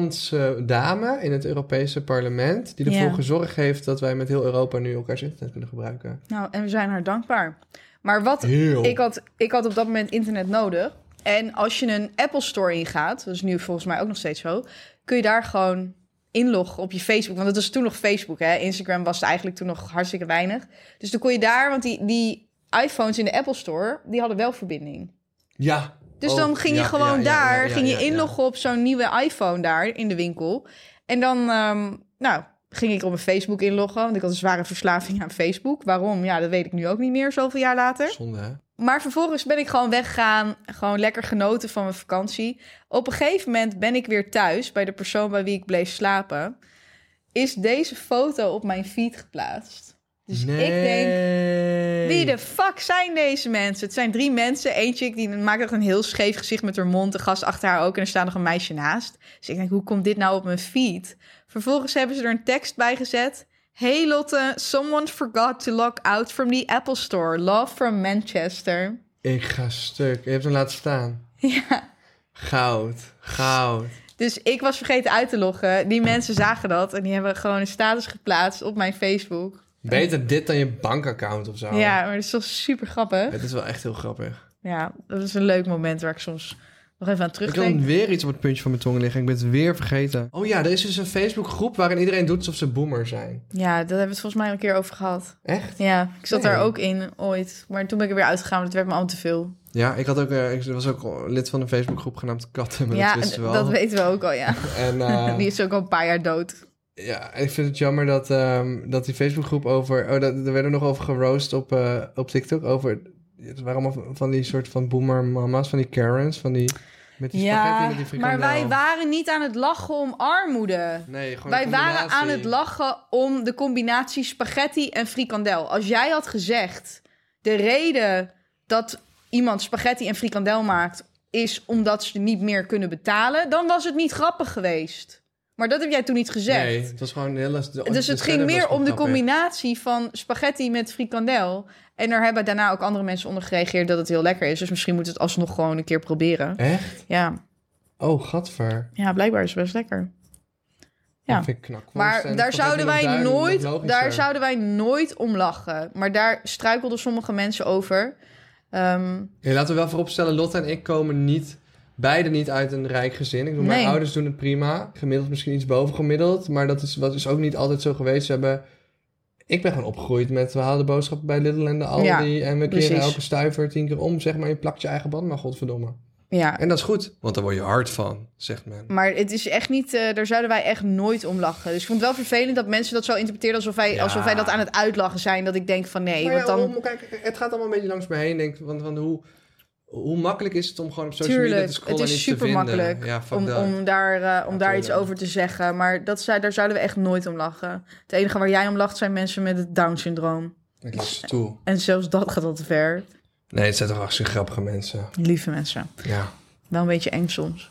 B: Nederlandse dame in het Europese parlement die ervoor
A: Ja.
B: gezorgd heeft dat wij met heel Europa nu elkaars internet kunnen gebruiken.
A: Nou, en we zijn haar dankbaar. Maar wat
B: Heel.
A: ik had, ik had op dat moment internet nodig. En als je een Apple Store ingaat, dat is nu volgens mij ook nog steeds zo, kun je daar gewoon inloggen op je Facebook. Want het was toen nog Facebook, hè? Instagram was het eigenlijk toen nog hartstikke weinig. Dus dan kon je daar, want die, die iPhones in de Apple Store, die hadden wel verbinding.
B: Ja.
A: Dus
B: Oh,
A: dan ging je
B: ja,
A: gewoon
B: ja, ja,
A: daar,
B: ja, ja,
A: ging je
B: ja, ja.
A: inloggen op zo'n nieuwe iPhone daar in de winkel. En dan, ehm, nou, ging ik op mijn Facebook inloggen, want ik had een zware verslaving aan Facebook. Waarom? Ja, dat weet ik nu ook niet meer, zoveel jaar later.
B: Zonde, hè?
A: Maar vervolgens ben ik gewoon weggegaan, gewoon lekker genoten van mijn vakantie. Op een gegeven moment ben ik weer thuis bij de persoon bij wie ik bleef slapen. Is deze foto op mijn feed geplaatst? Dus ik denk, wie de fuck zijn deze mensen? Het zijn drie mensen. Eentje die maakt echt een heel scheef gezicht met haar mond. De gast achter haar ook. En er staat nog een meisje naast. Dus ik denk, hoe komt dit nou op mijn feed? Vervolgens hebben ze er een tekst bij gezet. Hey Lotte, someone forgot to log out from the Apple Store. Love from Manchester.
B: Ik ga stuk. Je hebt hem laten staan.
A: Ja.
B: Goud. Goud.
A: Dus ik was vergeten uit te loggen. Die mensen zagen dat. En die hebben gewoon een status geplaatst op mijn Facebook.
B: Beter dit dan je bankaccount of zo.
A: Ja, maar dat is toch super grappig.
B: Het is wel echt heel grappig.
A: Ja, dat is een leuk moment waar ik soms nog even aan
B: Ik kan
A: terugdenk.
B: weer iets op het puntje van mijn tong liggen. Ik ben het weer vergeten. Oh ja, er is dus een Facebookgroep waarin iedereen doet alsof ze boomer zijn.
A: Ja, daar hebben we het volgens mij al een keer over gehad.
B: Echt?
A: Ja, ik zat
B: Nee.
A: daar ook in ooit. Maar toen ben ik er weer uitgegaan, want het werd me al te veel.
B: Ja, ik, had ook, eh, ik was ook lid van een Facebookgroep genaamd Katten, maar
A: ja,
B: dat wisten we
A: d-
B: al.
A: weten we ook al, ja.
B: En, eh,
A: Die is ook al een paar jaar dood.
B: Ja, ik vind het jammer dat, ehm, dat die Facebookgroep over... Oh, dat, er werden nog over geroost op, eh, op TikTok. Over, het waren allemaal van die soort van boomer mama's, van die Karens. Van die, met die spaghetti, met die
A: maar
B: frikandel.
A: wij waren niet aan het lachen om armoede.
B: Nee, gewoon
A: Wij
B: een
A: waren aan
B: combinatie.
A: het lachen om de combinatie spaghetti en frikandel. Als jij had gezegd, de reden dat iemand spaghetti en frikandel maakt... is omdat ze niet meer kunnen betalen, dan was het niet grappig geweest. Maar dat heb jij toen niet gezegd.
B: Nee, het was gewoon een hele... de-
A: Dus
B: de
A: het ging
B: setup was
A: meer
B: gewoon
A: om de
B: grappig.
A: combinatie van spaghetti met frikandel. En daar hebben daarna ook andere mensen onder gereageerd dat het heel lekker is. Dus misschien moet het alsnog gewoon een keer proberen.
B: Echt?
A: Ja,
B: Oh, gadver.
A: ja blijkbaar is het best lekker. Ja.
B: Dat vind ik knakworst
A: Maar
B: en
A: daar zouden,
B: spaghetti
A: wij
B: met duim,
A: nooit,
B: nog logischer.
A: daar zouden wij nooit om lachen. Maar daar struikelden sommige mensen over. Ehm,
B: Ja, laten we wel vooropstellen, Lotte en ik komen niet... Beide niet uit een rijk gezin. Ik bedoel,
A: Nee.
B: Mijn ouders doen het prima. Gemiddeld misschien iets boven gemiddeld. Maar dat is, dat is ook niet altijd zo geweest. Ze hebben... Ik ben gewoon opgegroeid met... We haalden boodschappen bij Lidl en de Aldi. en we keren
A: precies.
B: elke stuiver tien keer om. Zeg maar, je plakt je eigen band maar, godverdomme.
A: ja,
B: En dat is goed. Want daar word je hard van, zegt men.
A: Maar het is echt niet, eh, daar zouden wij echt nooit om lachen. Dus ik vond het wel vervelend dat mensen dat zo interpreteren alsof wij,
B: Ja.
A: alsof wij dat aan het uitlachen zijn. Dat ik denk van nee,
B: Maar
A: want
B: ja,
A: dan.
B: om- kijk, het gaat allemaal een beetje langs me heen. Denk, want want hoe, hoe makkelijk is het om gewoon op social media
A: Tuurlijk,
B: te scrollen
A: het is
B: en iets te
A: super
B: vinden?
A: makkelijk
B: Ja, fuck
A: om,
B: dat.
A: om daar, eh, om
B: Ja,
A: daar
B: tuurlijk.
A: iets over te zeggen. Maar dat zou, daar zouden we echt nooit om lachen. Het enige waar jij om lacht zijn mensen met het Down-syndroom.
B: Ik las het toe.
A: En zelfs dat gaat al te ver.
B: Nee, het zijn toch hartstikke grappige mensen.
A: Lieve mensen.
B: Ja.
A: Wel een beetje eng soms.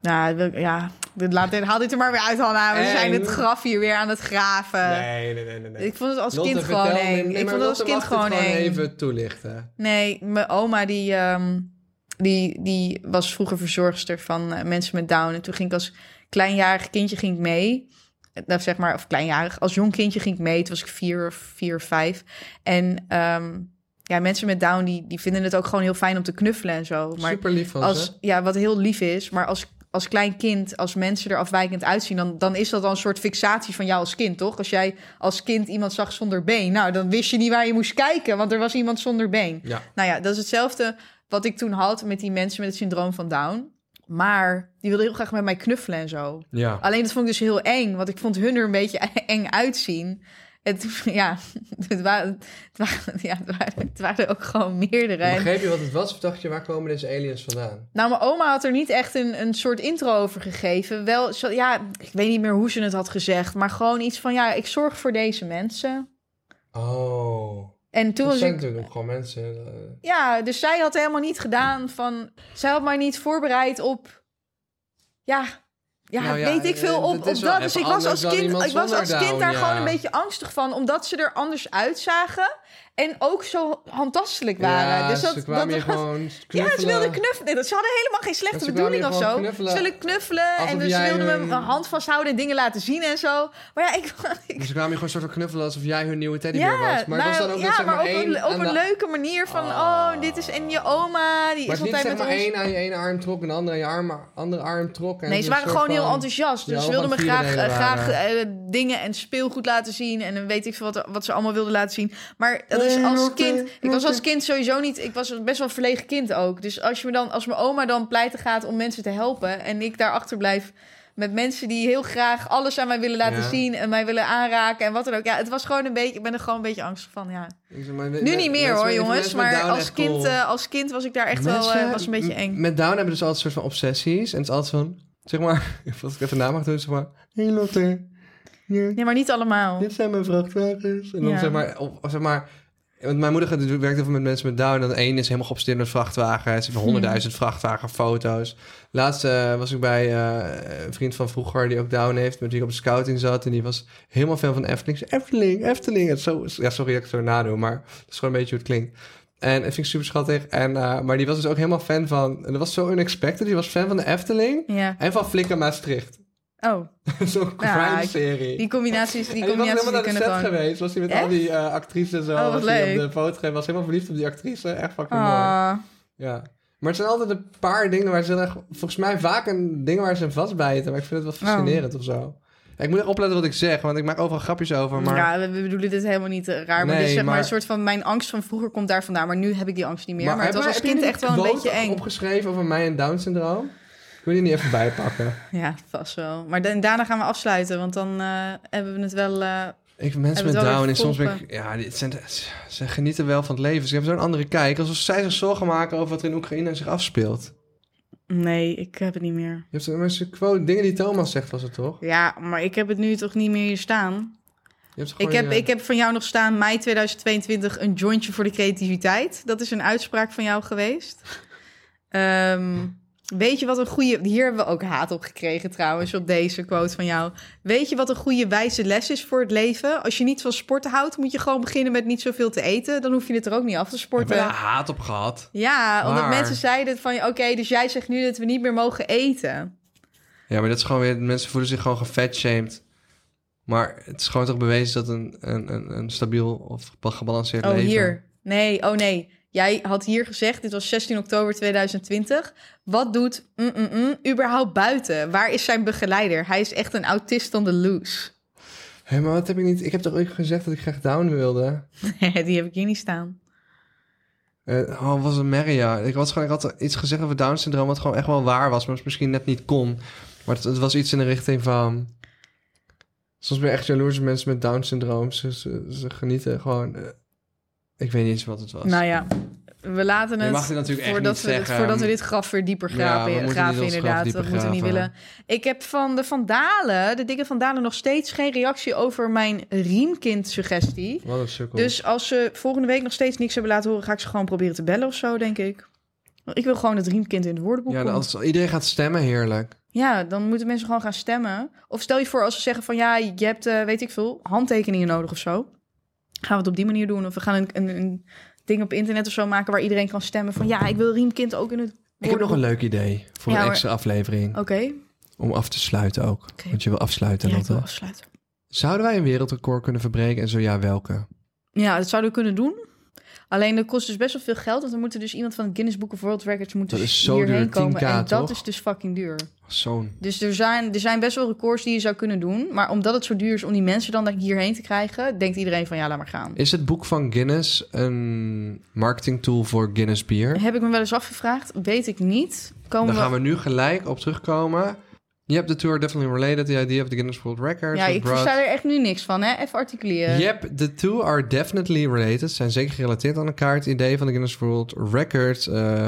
A: Nou, wil ik- ja, dit, laat, dit, haal dit er maar weer uit, Hanna. We
B: Eng.
A: zijn het graf hier weer aan het graven.
B: Nee, nee, nee, nee. nee.
A: Eh, Ik vond het als
B: Lotte,
A: kind
B: vertel
A: gewoon
B: me-
A: eng.
B: nee,
A: ik
B: maar
A: vond het
B: Lotte
A: als kind
B: mag dit
A: gewoon eng.
B: even toelichten.
A: Nee, mijn oma die, ehm, die, die was vroeger verzorgster van eh, mensen met Down. En toen ging ik als kleinjarig kindje ging ik mee. Eh, Nou, zeg maar, of kleinjarig. Als jong kindje ging ik mee. Toen was ik vier of vier of vijf. En ehm, ja, mensen met Down die, die vinden het ook gewoon heel fijn om te knuffelen en zo. Maar
B: Super lief van ze.
A: als, ja, wat heel lief is. Maar als, als klein kind, als mensen er afwijkend uitzien... Dan, dan is dat al een soort fixatie van jou als kind, toch? Als jij als kind iemand zag zonder been... nou, dan wist je niet waar je moest kijken... want er was iemand zonder been.
B: Ja.
A: Nou ja, dat is hetzelfde wat ik toen had... met die mensen met het syndroom van Down. Maar die wilden heel graag met mij knuffelen en zo.
B: Ja.
A: Alleen dat vond ik dus heel eng, want ik vond hun er een beetje eng uitzien. Het, ja, het waren, het waren, ja, het waren, het waren er ook gewoon meerdere. En-
B: Begreep je wat het was of dacht je, waar komen deze aliens vandaan?
A: nou, mijn oma had er niet echt een, een soort intro over gegeven. Wel, zo, ja, ik weet niet meer hoe ze het had gezegd. Maar gewoon iets van, ja, ik zorg voor deze mensen.
B: Oh.
A: En toen
B: Dat
A: was
B: zijn
A: ik...
B: natuurlijk ook gewoon mensen. eh,
A: Ja, dus zij had helemaal niet gedaan van... Zij had mij niet voorbereid op... Ja, ja,
B: Nou ja,
A: weet ik veel
B: eh,
A: op,
B: dat
A: op
B: is wel
A: dat. Dus
B: even
A: ik was
B: anders
A: als
B: dan
A: kind,
B: iemand
A: ik was
B: zonder
A: als kind
B: Down,
A: daar
B: ja.
A: gewoon een beetje angstig van. Omdat ze er anders uitzagen. En ook zo handtastelijk waren.
B: Ja,
A: dus dat,
B: ze kwamen
A: dat
B: je
A: er was-
B: gewoon
A: Ja, ze
B: knuffelen.
A: wilden knuffelen. Dat- Ze hadden helemaal geen slechte
B: Ja, ze kwamen
A: bedoeling
B: hier
A: of
B: gewoon
A: zo.
B: knuffelen.
A: Ze wilden knuffelen
B: Alsof
A: en dus ze
B: jij eh,
A: wilden me
B: hun-
A: mijn hand vasthouden en dingen laten zien en zo. Maar ja, ik... ik
B: Ze kwamen je gewoon een soort van knuffelen alsof jij hun nieuwe teddybeer
A: ja, nou,
B: was. Maar het was dan ook
A: ja,
B: net zeg maar,
A: maar op
B: één
A: een, op
B: aan
A: een
B: de-
A: leuke manier van...
B: Ah.
A: Oh, dit is en je oma, die
B: Maar
A: is
B: het is niet
A: altijd
B: zeg
A: met
B: maar
A: ons.
B: één aan je ene arm trok en de andere aan je arm, andere arm trok. En
A: Nee,
B: het
A: ze
B: was
A: waren
B: dus een soort
A: gewoon heel
B: van-
A: enthousiast.
B: Ja,
A: Dus ze
B: allemaal
A: wilden me
B: vier
A: graag, eh,
B: delen
A: graag
B: waren.
A: eh, dingen en speelgoed laten zien. En dan weet ik veel wat, wat ze allemaal wilden laten zien. Maar dat is als kind... Ik was als kind sowieso niet... Ik was best wel een verlegen kind ook. Dus als, je me dan, als mijn oma dan pleiten gaat om mensen te helpen... en ik daarachter blijf met mensen die heel graag alles aan mij willen laten
B: Ja.
A: zien... en mij willen aanraken en wat dan ook. Ja, het was gewoon een beetje... Ik ben er gewoon een beetje angstig van, ja.
B: Ik zeg maar, we-
A: Nu
B: we-
A: niet meer
B: mensen
A: hoor,
B: met-
A: jongens.
B: mensen met
A: Maar
B: Down
A: als
B: echt
A: kind,
B: cool.
A: eh, als kind was ik daar echt wel...
B: Mensen
A: eh, was een beetje eng.
B: m- Met Down hebben dus altijd een soort van obsessies. En het is altijd van, zeg maar, als ik even na mag doen, zeg maar... Hey Lotte, hier,
A: Nee, maar niet allemaal.
B: dit zijn mijn vrachtwagens. En dan
A: Ja.
B: zeg maar, of, of zeg maar... Want mijn moeder gaat, werkt heel veel met mensen met Down. En dan één is helemaal geobsedeerd met vrachtwagens.
A: Hmm.
B: Ze hebben honderdduizend vrachtwagenfoto's. Laatst eh, was ik bij eh, een vriend van vroeger die ook Down heeft. Met wie ik op de scouting zat. En die was helemaal fan van Efteling. Ze zei, Efteling, Efteling. Het is zo, ja, sorry dat ik het zo nadoe, maar dat is gewoon een beetje hoe het klinkt. En dat vind ik super schattig. En, eh, maar die was dus ook helemaal fan van... En dat was zo unexpected. Die was fan van de Efteling
A: Ja.
B: en van Flikker Maastricht.
A: Oh.
B: Zo'n
A: Ja,
B: crime serie.
A: Die combinaties, die
B: En die was
A: combinaties die
B: helemaal naar
A: kunnen
B: de set
A: gewoon...
B: geweest. Was hij met
A: Echt?
B: al die eh, actrices en zo.
A: Oh, wat
B: was hij
A: leuk.
B: op de foto geweest. Was helemaal verliefd op die actrice. Echt fucking mooi.
A: Ah,
B: Ja. Maar het zijn altijd een paar dingen waar ze heel erg... Volgens mij vaak een ding waar ze aan vastbijten. Maar ik vind het wel
A: Oh.
B: fascinerend of zo. Ik moet echt opletten wat ik zeg. Want ik maak overal grapjes over. Maar
A: Ja, we we bedoelen dit helemaal niet eh, raar. maar
B: Nee,
A: dit is zeg Oh, maar
B: maar-
A: een soort van mijn angst van vroeger komt daar vandaan. Maar nu heb ik die angst niet meer. Maar, het was als
B: heb jij
A: kind
B: niet
A: echt wel een
B: quote
A: beetje eng.
B: opgeschreven over mij en Down syndroom? Kun je die niet even bijpakken?
A: Ja, vast wel. Maar dan, daarna gaan we afsluiten, want dan eh, hebben we het wel... eh,
B: Ik,
A: Hebben
B: mensen met
A: het wel
B: Down
A: weer
B: en soms ben ik,
A: gevonden.
B: ja, die, het zijn, ze genieten wel van het leven. Ze hebben zo'n andere kijk. Alsof zij zich zorgen maken over wat er in Oekraïne zich afspeelt.
A: Nee, ik heb het niet meer.
B: Je hebt een mensen quote, dingen die Thomas zegt, was het toch?
A: Ja, maar ik heb het nu toch niet meer hier staan.
B: Je hebt gewoon eh,
A: Ik heb,
B: je-
A: ik heb van jou nog staan, mei 2022, een jointje voor de creativiteit. Dat is een uitspraak van jou geweest. Ehm, weet je wat een goede... Hier hebben we ook haat op gekregen trouwens, op deze quote van jou. Weet je wat een goede wijze les is voor het leven? Als je niet van sporten houdt, moet je gewoon beginnen met niet zoveel te eten. Dan hoef je het er ook niet af te
B: Ik
A: sporten.
B: heb er haat op gehad.
A: Ja, omdat
B: Maar-
A: mensen zeiden van... Oké, dus jij zegt nu dat we niet meer mogen eten.
B: Ja, maar dat is gewoon weer, mensen voelen zich gewoon gefatshamed. Maar het is gewoon toch bewezen dat een, een, een, een stabiel of gebalanceerd
A: Oh,
B: leven...
A: hier. Nee, oh nee. Jij had hier gezegd, dit was 16 oktober 2020. Wat doet mm, mm, mm, überhaupt buiten? Waar is zijn begeleider? Hij is echt een autist on the loose.
B: Hé, maar wat heb ik niet... Ik heb toch ook gezegd dat ik graag Down wilde?
A: Die heb ik hier niet staan.
B: Eh, oh, was een merria. Ik, was gewoon, ik had iets gezegd over Down syndroom, wat gewoon echt wel waar was, maar het misschien net niet kon. Maar het, het was iets in de richting van. Soms ben je echt jaloers op mensen met Down syndroom. Ze, ze, ze genieten gewoon. eh, ik weet niet eens wat het was.
A: Nou ja, we laten
B: Je
A: het,
B: mag dit natuurlijk echt
A: voordat,
B: niet
A: we dit,
B: zeggen.
A: voordat we dit graf weer dieper
B: Ja,
A: graven,
B: we moeten
A: graven
B: niet ons graf
A: inderdaad.
B: dieper
A: Dat moeten we niet
B: graven.
A: willen. Ik heb van de Vandalen, de dikke Vandalen, nog steeds geen reactie over mijn riemkind suggestie.
B: Wat een sukkel.
A: Dus als ze volgende week nog steeds niks hebben laten horen, ga ik ze gewoon proberen te bellen of zo, denk ik. Want ik wil gewoon het riemkind in het woordenboek.
B: ja,
A: komt.
B: dan- als iedereen gaat stemmen, heerlijk.
A: ja, dan moeten mensen gewoon gaan stemmen. Of stel je voor als ze zeggen van ja, je hebt, eh, weet ik veel, handtekeningen nodig of zo. Gaan we het op die manier doen? Of we gaan een, een, een ding op internet of zo maken waar iedereen kan stemmen van ja, ik wil riemkind ook in het
B: Ik heb nog een
A: woordenboek.
B: leuk idee voor
A: Ja,
B: een
A: maar-
B: extra aflevering.
A: Oké,
B: Om af te sluiten ook.
A: Oké.
B: Want je wil afsluiten,
A: ja, ik
B: Lotte.
A: wil afsluiten.
B: Zouden wij een wereldrecord kunnen verbreken en zo ja, welke?
A: Ja, dat zouden we kunnen doen. Alleen dat kost dus best wel veel geld, want dan moeten dus iemand van het Guinness Book of World Records moeten
B: Dat
A: dus
B: is zo
A: hierheen
B: duur,
A: komen.
B: 10K
A: en dat
B: toch?
A: is dus fucking duur.
B: Zo'n.
A: Dus er zijn, er zijn best wel records die je zou kunnen doen. Maar omdat het zo duur is om die mensen dan hierheen te krijgen, denkt iedereen van ja, laat maar gaan.
B: Is het boek van Guinness een marketingtool voor Guinness bier?
A: Heb ik me wel eens afgevraagd? Weet ik niet. Komen
B: Daar gaan we nu gelijk op terugkomen. Je hebt de tour definitely related, the idea of the Guinness World Record.
A: Ja, ik versta er echt nu niks van, hè? Even articuleren.
B: Yep, the two are definitely related. Zijn zeker gerelateerd aan elkaar. Het idee van de Guinness World Record eh,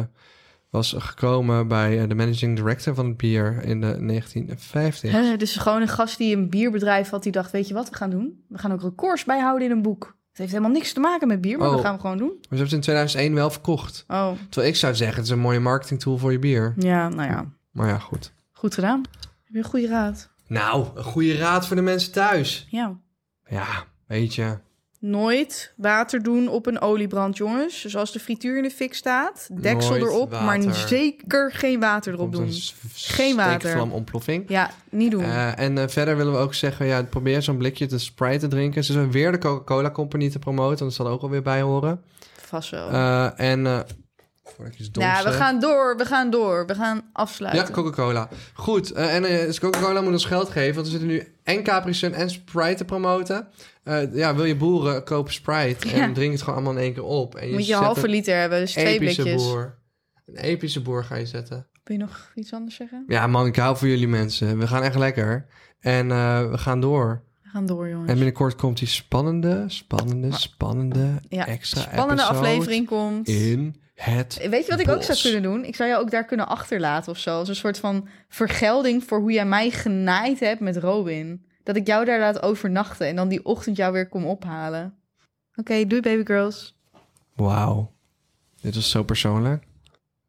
B: was gekomen bij eh, de managing director van het bier in de 1950.
A: Hè, dus gewoon een gast die een bierbedrijf had, die dacht: Weet je wat we gaan doen? We gaan ook records bijhouden in een boek. Het heeft helemaal niks te maken met bier, maar
B: Oh.
A: we gaan hem gewoon doen.
B: Maar ze hebben het in 2001 wel verkocht.
A: Oh,
B: Terwijl ik zou zeggen, het is een mooie marketingtool voor je bier.
A: ja, nou ja.
B: Maar ja, goed.
A: Goed gedaan. Heb je een goede raad?
B: Nou, een goede raad voor de mensen thuis.
A: Ja.
B: Ja, weet je.
A: Nooit water doen op een oliebrand, jongens. Dus als de frituur in de fik staat, deksel
B: Nooit
A: erop, maar
B: water.
A: geen- geen water erop
B: Komt een
A: doen.
B: s-
A: Geen water.
B: steekvlamontploffing.
A: Ja, niet doen.
B: Eh, en eh, verder willen we ook zeggen, ja, probeer zo'n blikje te Sprite te drinken. Ze zijn weer de Coca-Cola Company te promoten, want dat zal er ook alweer bij horen.
A: Vast wel.
B: Eh, en, eh, voordat ik iets doms
A: ja, Nou, we
B: zeg.
A: gaan door, we gaan door. We gaan
B: Ja,
A: afsluiten.
B: Coca-Cola. Goed, eh, en eh, dus Coca-Cola moet ons geld geven, want we zitten nu en Capri Sun en Sprite te promoten. Eh, ja, wil je boeren, koop Sprite en
A: Ja.
B: drink het gewoon allemaal in één keer op. En
A: Moet je
B: zet
A: halve
B: een
A: liter hebben, dus twee
B: epische
A: blikjes.
B: boer. Een epische boer ga je zetten.
A: Wil je nog iets anders zeggen?
B: Ja man, ik hou van jullie mensen. We gaan echt lekker. En eh, we gaan door.
A: We gaan door, jongens.
B: En binnenkort komt die spannende, spannende, spannende
A: ja,
B: extra
A: spannende
B: episode
A: aflevering komt.
B: in het
A: Weet je wat ik ook zou
B: bos.
A: kunnen doen? Ik zou jou ook daar kunnen achterlaten of zo. Als een soort van vergelding voor hoe jij mij genaaid hebt met Robin. Dat ik jou daar laat overnachten en dan die ochtend jou weer kom ophalen. Oké, doei baby girls.
B: Wauw. Dit was zo persoonlijk.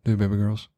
B: Doei baby girls.